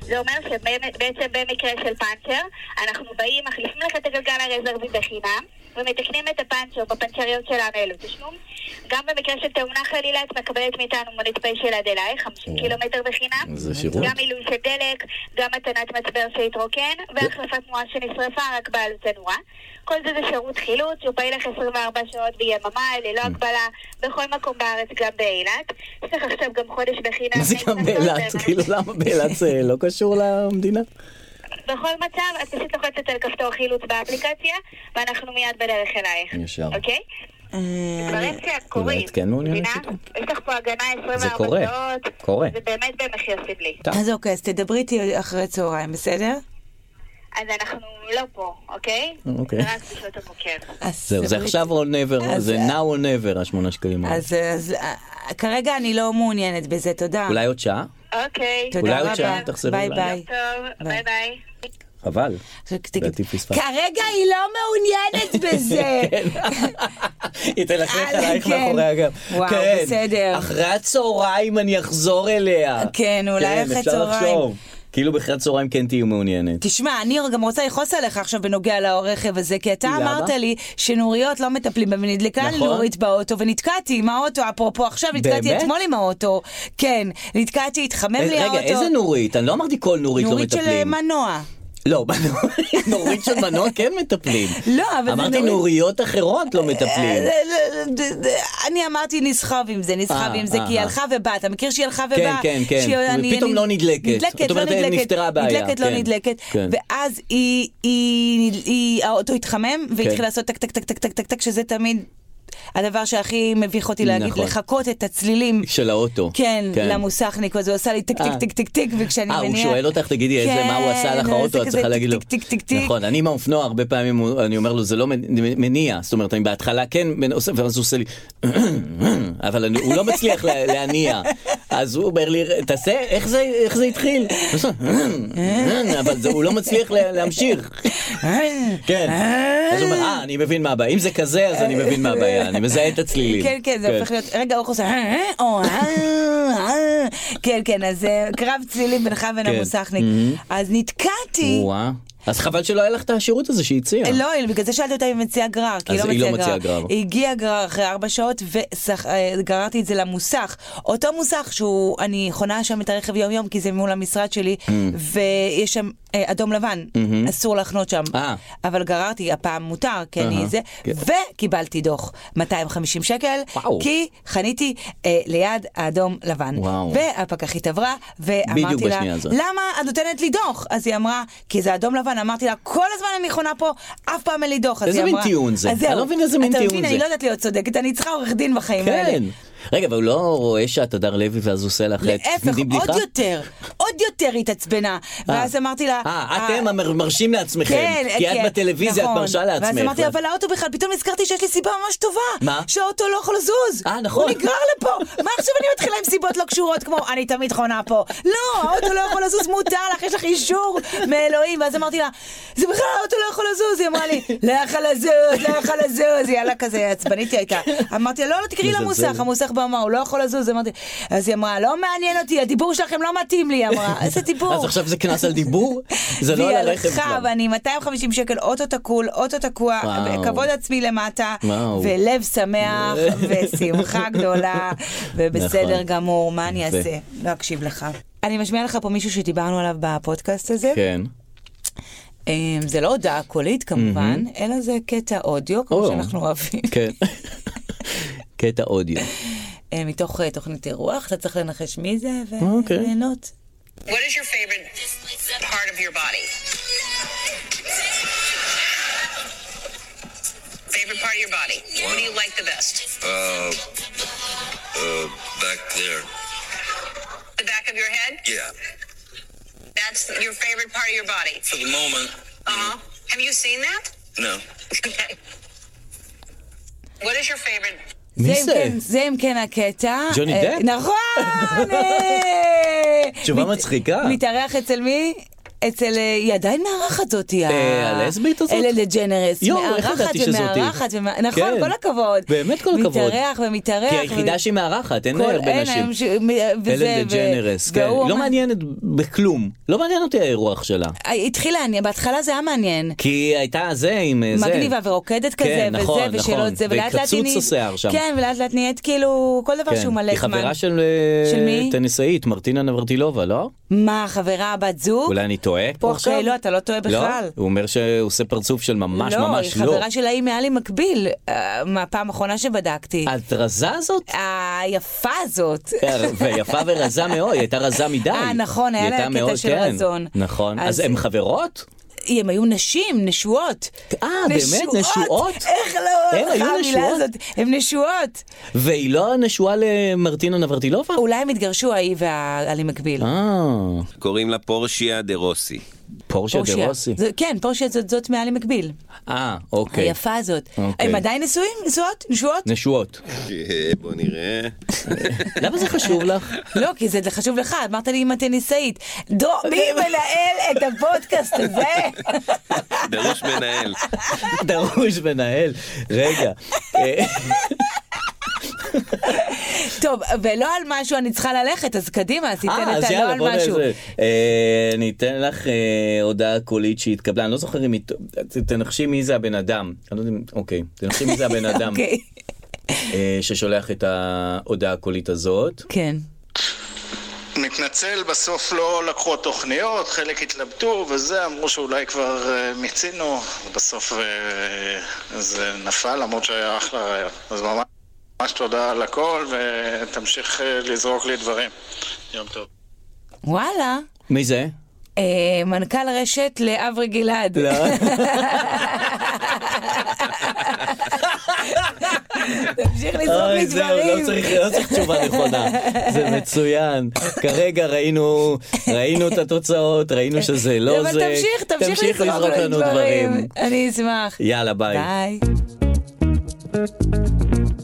S6: זה אומר שבעצם במקרה של פאנצ'ר, אנחנו באים, מחליפים לך את הגלגל הרזרבי בחינם, ומתקנים את הפאנצ'ר בפנצ'ריות שלנו ללא תשלום. גם במקרה של תאונה חלילה, את מקבלת מאיתנו מונית פיישל עד אלייך, 50 קילומטר בחינם.
S3: זה שירות.
S6: גם מילוי של דלק, גם מתנת מצבר שהתרוקן, והחלפת תנועה שנשרפה רק בעלות הנורה. כל זה זה שירות חילוץ, הוא פעיל לך 24 שעות ביממה, ללא
S3: Mm.
S6: הגבלה, בכל מקום בארץ, גם באילת. יש לך עכשיו גם חודש בחינם.
S3: מה זה
S6: אין
S3: גם
S6: קנסות,
S3: באילת?
S6: אבל-
S3: כאילו, למה באילת זה לא קשור למדינה?
S6: בכל מצב, את פשוט לוחצת על כפתור חילוץ באפליקציה, ואנחנו מיד בדרך אלייך.
S3: ישר.
S6: אוקיי?
S4: אה,
S6: דברים
S3: אולי
S6: שקורים,
S3: את כן מעוניינת
S6: מבינה?
S3: איתו?
S6: יש לך פה הגנה 24 שעות.
S3: זה קורה. קורה.
S6: זה באמת במחיר סבלי.
S4: אז אוקיי, אז תדברי איתי אחרי צהריים, בסדר?
S6: אז אנחנו לא פה, אוקיי?
S3: אוקיי.
S6: זה רק בשעות הבוקר.
S4: אז
S3: זהו, זה
S4: דברי
S3: עכשיו or never,
S4: אז-
S3: זה now or never, השמונה שקלים האלה.
S4: אז, אז אה, כרגע אני לא מעוניינת בזה, תודה.
S3: אולי עוד שעה?
S6: אוקיי.
S4: תודה
S3: אולי עוד
S4: רבה.
S3: שעה תחזרו
S4: ביי
S3: אליי.
S4: ביי.
S6: טוב, ביי ביי.
S3: חבל.
S4: עכשיו תגיד,
S3: לדעתי פספסת. כן.
S4: כרגע היא לא מעוניינת בזה.
S3: היא תלכלך
S4: אהלן,
S3: עלייך
S4: כן.
S3: מאחורי הגב.
S4: וואו,
S3: כן,
S4: בסדר.
S3: אחרי הצהריים אני אחזור אליה.
S4: כן, אולי
S3: כן,
S4: אחרי
S3: אפשר
S4: הצהריים.
S3: לחשוב. כאילו באחרי הצהריים כן תהיו מעוניינת.
S4: תשמע, אני גם רוצה לכעוס עליך עכשיו בנוגע לרכב הזה, כי אתה
S3: למה?
S4: אמרת לי שנוריות לא מטפלים בהם, ונדלקה לי
S3: נכון.
S4: נורית באוטו, ונתקעתי עם האוטו, אפרופו עכשיו, נתקעתי
S3: באמת? אה,
S4: אתמול עם האוטו. כן, נתקעתי, התחמם לי האוטו.
S3: רגע, איזה נורית? אני לא אמרתי כל נורית לא
S4: נורית של אה,
S3: מטפלים.
S4: מנוע.
S3: לא, בנורית- נורית של מנוע כן מטפלים.
S4: לא, אבל זה
S3: אמרתי
S4: נורית-
S3: נוריות אחרות לא מטפלים.
S4: אה, אה, אה, אה, אה, אני אמרתי נסחב עם זה, נסחב
S3: אה,
S4: עם זה,
S3: אה,
S4: כי היא
S3: אה.
S4: הלכה ובאה, אתה מכיר שהיא הלכה
S3: כן,
S4: ובאה?
S3: כן, כן.
S4: שהיא- אני-
S3: ופתאום
S4: אני-
S3: לא נדלקת.
S4: נדלקת,
S3: זאת
S4: לא
S3: אומרת,
S4: נדלקת.
S3: נפתרה הבעיה,
S4: נדלקת, לא
S3: כן,
S4: נדלקת.
S3: כן.
S4: ואז היא- היא- היא- האוטו התחמם,
S3: כן.
S4: והתחיל לעשות טק, טק, טק, טק, טק, טק, טק, שזה תמיד... הדבר שהכי מביך אותי להגיד,
S3: נכון.
S4: לחכות את הצלילים.
S3: של האוטו.
S4: כן,
S3: כן.
S4: למוסכניק, אז הוא עשה לי טק טק
S3: אה.
S4: טק טק טק, וכשאני
S3: אה,
S4: מניעה...
S3: הוא שואל אותך, תגידי, איזה, מה הוא עשה לך
S4: כן, זה
S3: האוטו, את
S4: כזה
S3: צריכה
S4: טיק,
S3: להגיד לו.
S4: טיק, טיק, טיק, טיק.
S3: נכון, אני עם האופנוע, הרבה פעמים הוא- אני אומר לו, זה לא מנ- מניע, זאת אומרת, אני בהתחלה כן, מנ- עושה- ואז הוא עושה לי, אבל אני- הוא לא מצליח לה- להניע. אז הוא אומר לי, תעשה, איך זה, איך זה התחיל? אז הוא, אבל זה, הוא לא מצליח לה- להמשיך.
S4: אה.
S3: כן. אז הוא אומר, אה, אני מבין מה הבעיה. אם זה כזה, אז אני מבין מה הבעיה. אני מזהה את הצלילים.
S4: כן, כן, זה הופך להיות, רגע, אורך עושה, "אה, אה, או, אה, אה." כן, כן, אז אה, קרב צלילים בינך ובין
S3: כן.
S4: המוסכניק. אז נתקעתי,
S3: וואה. אז חבל שלא היה לך את השירות הזה שהציע.
S4: לא, בגלל זה שאלתי אותה אם היא מציעה גרר, כי
S3: אז
S4: היא לא מציעה גרר.
S3: גרר.
S4: היא הגיעה גרר אחרי ארבע שעות וגררתי את זה למוסך. אותו מוסך שהוא, אני חונה שם את הרכב יום יום כי זה מול המשרד שלי,
S3: Mm.
S4: ויש שם אה, אדום לבן, אסור לחנות שם.
S3: Mm-hmm. אה.
S4: אבל גררתי, הפעם מותר, כי אני
S3: אהה,
S4: זה,
S3: כן.
S4: וקיבלתי דוח 250 שקל,
S3: וואו.
S4: כי חניתי אה, ליד האדום לבן.
S3: וואו.
S4: והפקחית עברה, ואמרתי לה,
S3: בשנייה הזאת.
S4: למה את נותנת לי דוח? אז היא אמרה, כי זה אדום לבן. אמרתי לה, כל הזמן אני חונה פה, אף פעם אין לי דוח. אז
S3: איזה
S4: היא
S3: מין
S4: אמרה-
S3: טיעון זה?
S4: אז זהו.
S3: אני לא מבין איזה מין טיעון
S4: אתה מבין,
S3: זה.
S4: אני לא יודעת להיות צודקת, אני צריכה עורך דין בחיים האלה.
S3: כן. רגע, אבל הוא לא רואה שאת הדר לוי ואז הוא עושה לך
S4: להפך,
S3: אתם יודעים
S4: עוד
S3: בדיחה?
S4: יותר, עוד יותר היא התעצבנה. ואז אמרתי לה...
S3: אה, אתם המר- מרשים לעצמכם.
S4: כן,
S3: כי את
S4: כן,
S3: בטלוויזיה, את
S4: נכון.
S3: מרשה לעצמך.
S4: ואז אמרתי, אבל האוטו בכלל, פתאום נזכרתי שיש לי סיבה ממש טובה.
S3: מה?
S4: שהאוטו לא יכול לזוז.
S3: אה, נכון.
S4: הוא נגרר לפה. מה עכשיו אני מתחילה עם סיבות לא קשורות, כמו אני תמיד חונה פה. לא, האוטו לא יכול לזוז, מותר לך, יש לך אישור מאלוהים. ואז אמרתי לה, זה בכלל האוטו לא יכול לזוז. היא אמרה לי, לא יכול לזוז, לא יכול לזוז. היא עלה כזה עצבנית היא הייתה. אמרתי לה, לא, לא, תקראי
S3: מזלזלת.
S4: למוסך. המוסך בא, אמר, הוא לא יכול לזוז. אמרתי, אז היא אמרה, לא מעניין אותי, הדיבור שלכם לא מתאים לי, היא אמרה. איזה דיבור.
S3: אז עכשיו זה קנס על דיבור? זה לא
S4: והיא
S3: על הרכב
S4: הלכה,
S3: בכלל.
S4: ואני 250 שקל, אוטו תקול, אוטו תקוע,
S3: וואו.
S4: כבוד עצמי למטה,
S3: וואו.
S4: ולב שמח, ושמחה גדולה, ובסדר
S3: נכון.
S4: גמור, מה אני
S3: יפה.
S4: אעשה? לא אקשיב לך. אני משמיעה לך פה מישהו שדיברנו עליו בפודקאסט הזה.
S3: כן.
S4: אמ, זה לא הודעה קולית כמובן, אלא זה קטע אודיו, כמו
S3: או.
S4: שאנחנו אוהבים,
S3: כן. קטע אודיו.
S4: אה, מתוך אה, תוכנית אירוח, אתה צריך לנחש מי זה
S3: אוקיי.
S4: וליהנות.
S7: What is your favorite part of your body? Favorite part of your body? What do you like the best?
S8: Uh, uh, back there.
S7: The back of your head?
S8: Yeah.
S7: That's your favorite part of your body.
S8: For the moment,
S7: Uh huh. Have you seen that?
S8: no.
S7: Okay. What is your favorite?
S3: מי
S4: זה אם
S3: זה?
S4: כן- זה אם כן הקטע.
S3: ג'וני
S4: אה,
S3: דפ?
S4: נכון! אה,
S3: תשובה
S4: מת-
S3: מצחיקה.
S4: מתארח אצל מי? אצל, אה, היא עדיין מארחת זאתי.
S3: אה, הלסבית הזאת?
S4: אלה דג'נרס.
S3: יואו, איך ידעתי שזאתי?
S4: מארחת ומארחת, ומא- נכון,
S3: כן.
S4: כל הכבוד.
S3: באמת כל הכבוד.
S4: מתארח ומתארח.
S3: כי היחידה
S4: ו-
S3: שהיא מארחת, אין
S4: כל-
S3: הרבה
S4: אין,
S3: נשים.
S4: היום ש- מ- אה, וזה,
S3: אלן
S4: ו-
S3: דג'נרס, כן.
S4: והוא
S3: היא לא
S4: אמר-
S3: מעניינת בכלום. לא מעניין אותי האירוח שלה.
S4: היא אה, התחילה, אני- בהתחלה זה היה מעניין.
S3: כי היא הייתה זה עם אה, זה.
S4: מגניבה ורוקדת כזה,
S3: כן,
S4: וזה,
S3: נכון, נכון.
S4: ושאלות זה, ולאט לאט היא...
S3: וקצוץ השיער שם.
S4: כן, ולאט לאט נהיית כאילו, כל דבר
S3: כן.
S4: שהוא מלא
S3: היא
S4: זמן.
S3: חברה של אה,
S4: של מי?
S3: טניסאית, מרטינה נברטילובה, לא?
S4: מה, חברה, בת זוג?
S3: אולי אני טועה פה
S4: אוקיי,
S3: עכשיו?
S4: לא, אתה לא טועה בכלל.
S3: לא? הוא אומר שהוא עושה פרצוף של ממש
S4: לא,
S3: ממש
S4: היא
S3: לא.
S4: חברה שלה היא מעלי מקביל, אה, מהפעם האחרונה שבדקתי.
S3: הרזה הזאת?
S4: היפה הזאת.
S3: אה. כן, ויפה ורזה מאוד, היא הייתה רזה מדי.
S4: אה, נכון, היה
S3: היא
S4: לה
S3: הייתה
S4: קטע
S3: מאוד-
S4: של
S3: כן.
S4: רזון.
S3: נכון,
S4: אז-
S3: אז הן חברות?
S4: הם היו נשים, נשואות.
S3: אה, באמת? נשואות?
S4: איך לא,
S3: הם
S4: איך
S3: היו
S4: המילה
S3: נשואות?
S4: הזאת? הם נשואות.
S3: והיא לא נשואה למרטינה נברטילובה?
S4: אולי הם התגרשו, ההיא והעלי מקביל.
S3: אה,
S9: קוראים לה פורשיה דה רוסי.
S3: פורשה דה רוסי.
S4: זה- כן, פורשיה זאת- זאת מעלי מקביל.
S3: אה, אוקיי.
S4: היפה הזאת.
S3: אוקיי.
S4: הם עדיין נשואים? נשואות? נשואות?
S3: נשואות.
S9: אה, בוא נראה.
S3: למה זה חשוב לך?
S4: לא, כי זה חשוב לך, אמרת לי עם הטניסאית. דו, מי מנהל את הפודקאסט הזה?
S9: דרוש מנהל.
S3: דרוש מנהל. רגע. אה,
S4: טוב, ולא על משהו אני צריכה ללכת, אז קדימה, אז תיתן
S3: אה,
S4: את
S3: אז
S4: הלא
S3: יאללה,
S4: על
S3: בוא
S4: משהו.
S3: נעשה. אה, אני אתן לך אה, הודעה קולית שהתקבלה, אני לא זוכר אם היא... ת- תנחשי מי זה הבן אדם. אני לא יודע, אם- אוקיי. תנחשי מי זה הבן אדם
S4: אוקיי.
S3: אה, ששולח את ההודעה הקולית הזאת.
S4: כן.
S10: מתנצל, בסוף לא לקחו תוכניות, חלק התלבטו וזה, אמרו שאולי כבר אה, מיצינו, בסוף אה, זה נפל, למרות שהיה אחלה רעיון. אז ממש- ממש תודה על הכל, ותמשיך אה, לזרוק לי דברים. יום טוב.
S4: וואלה.
S3: מי זה?
S4: אה, מנכ"ל רשת לאברי גלעד.
S3: לא.
S4: תמשיך לזרוק לי
S3: אוי, זהו, לא
S4: דברים.
S3: צריך לא צריך תשובה נכונה. זה מצוין. כרגע ראינו ראינו את התוצאות, ראינו שזה לא זה.
S4: כן. אבל תמשיך, תמשיך לזרוק לי דברים. אני אשמח.
S3: יאללה, ביי.
S4: ביי.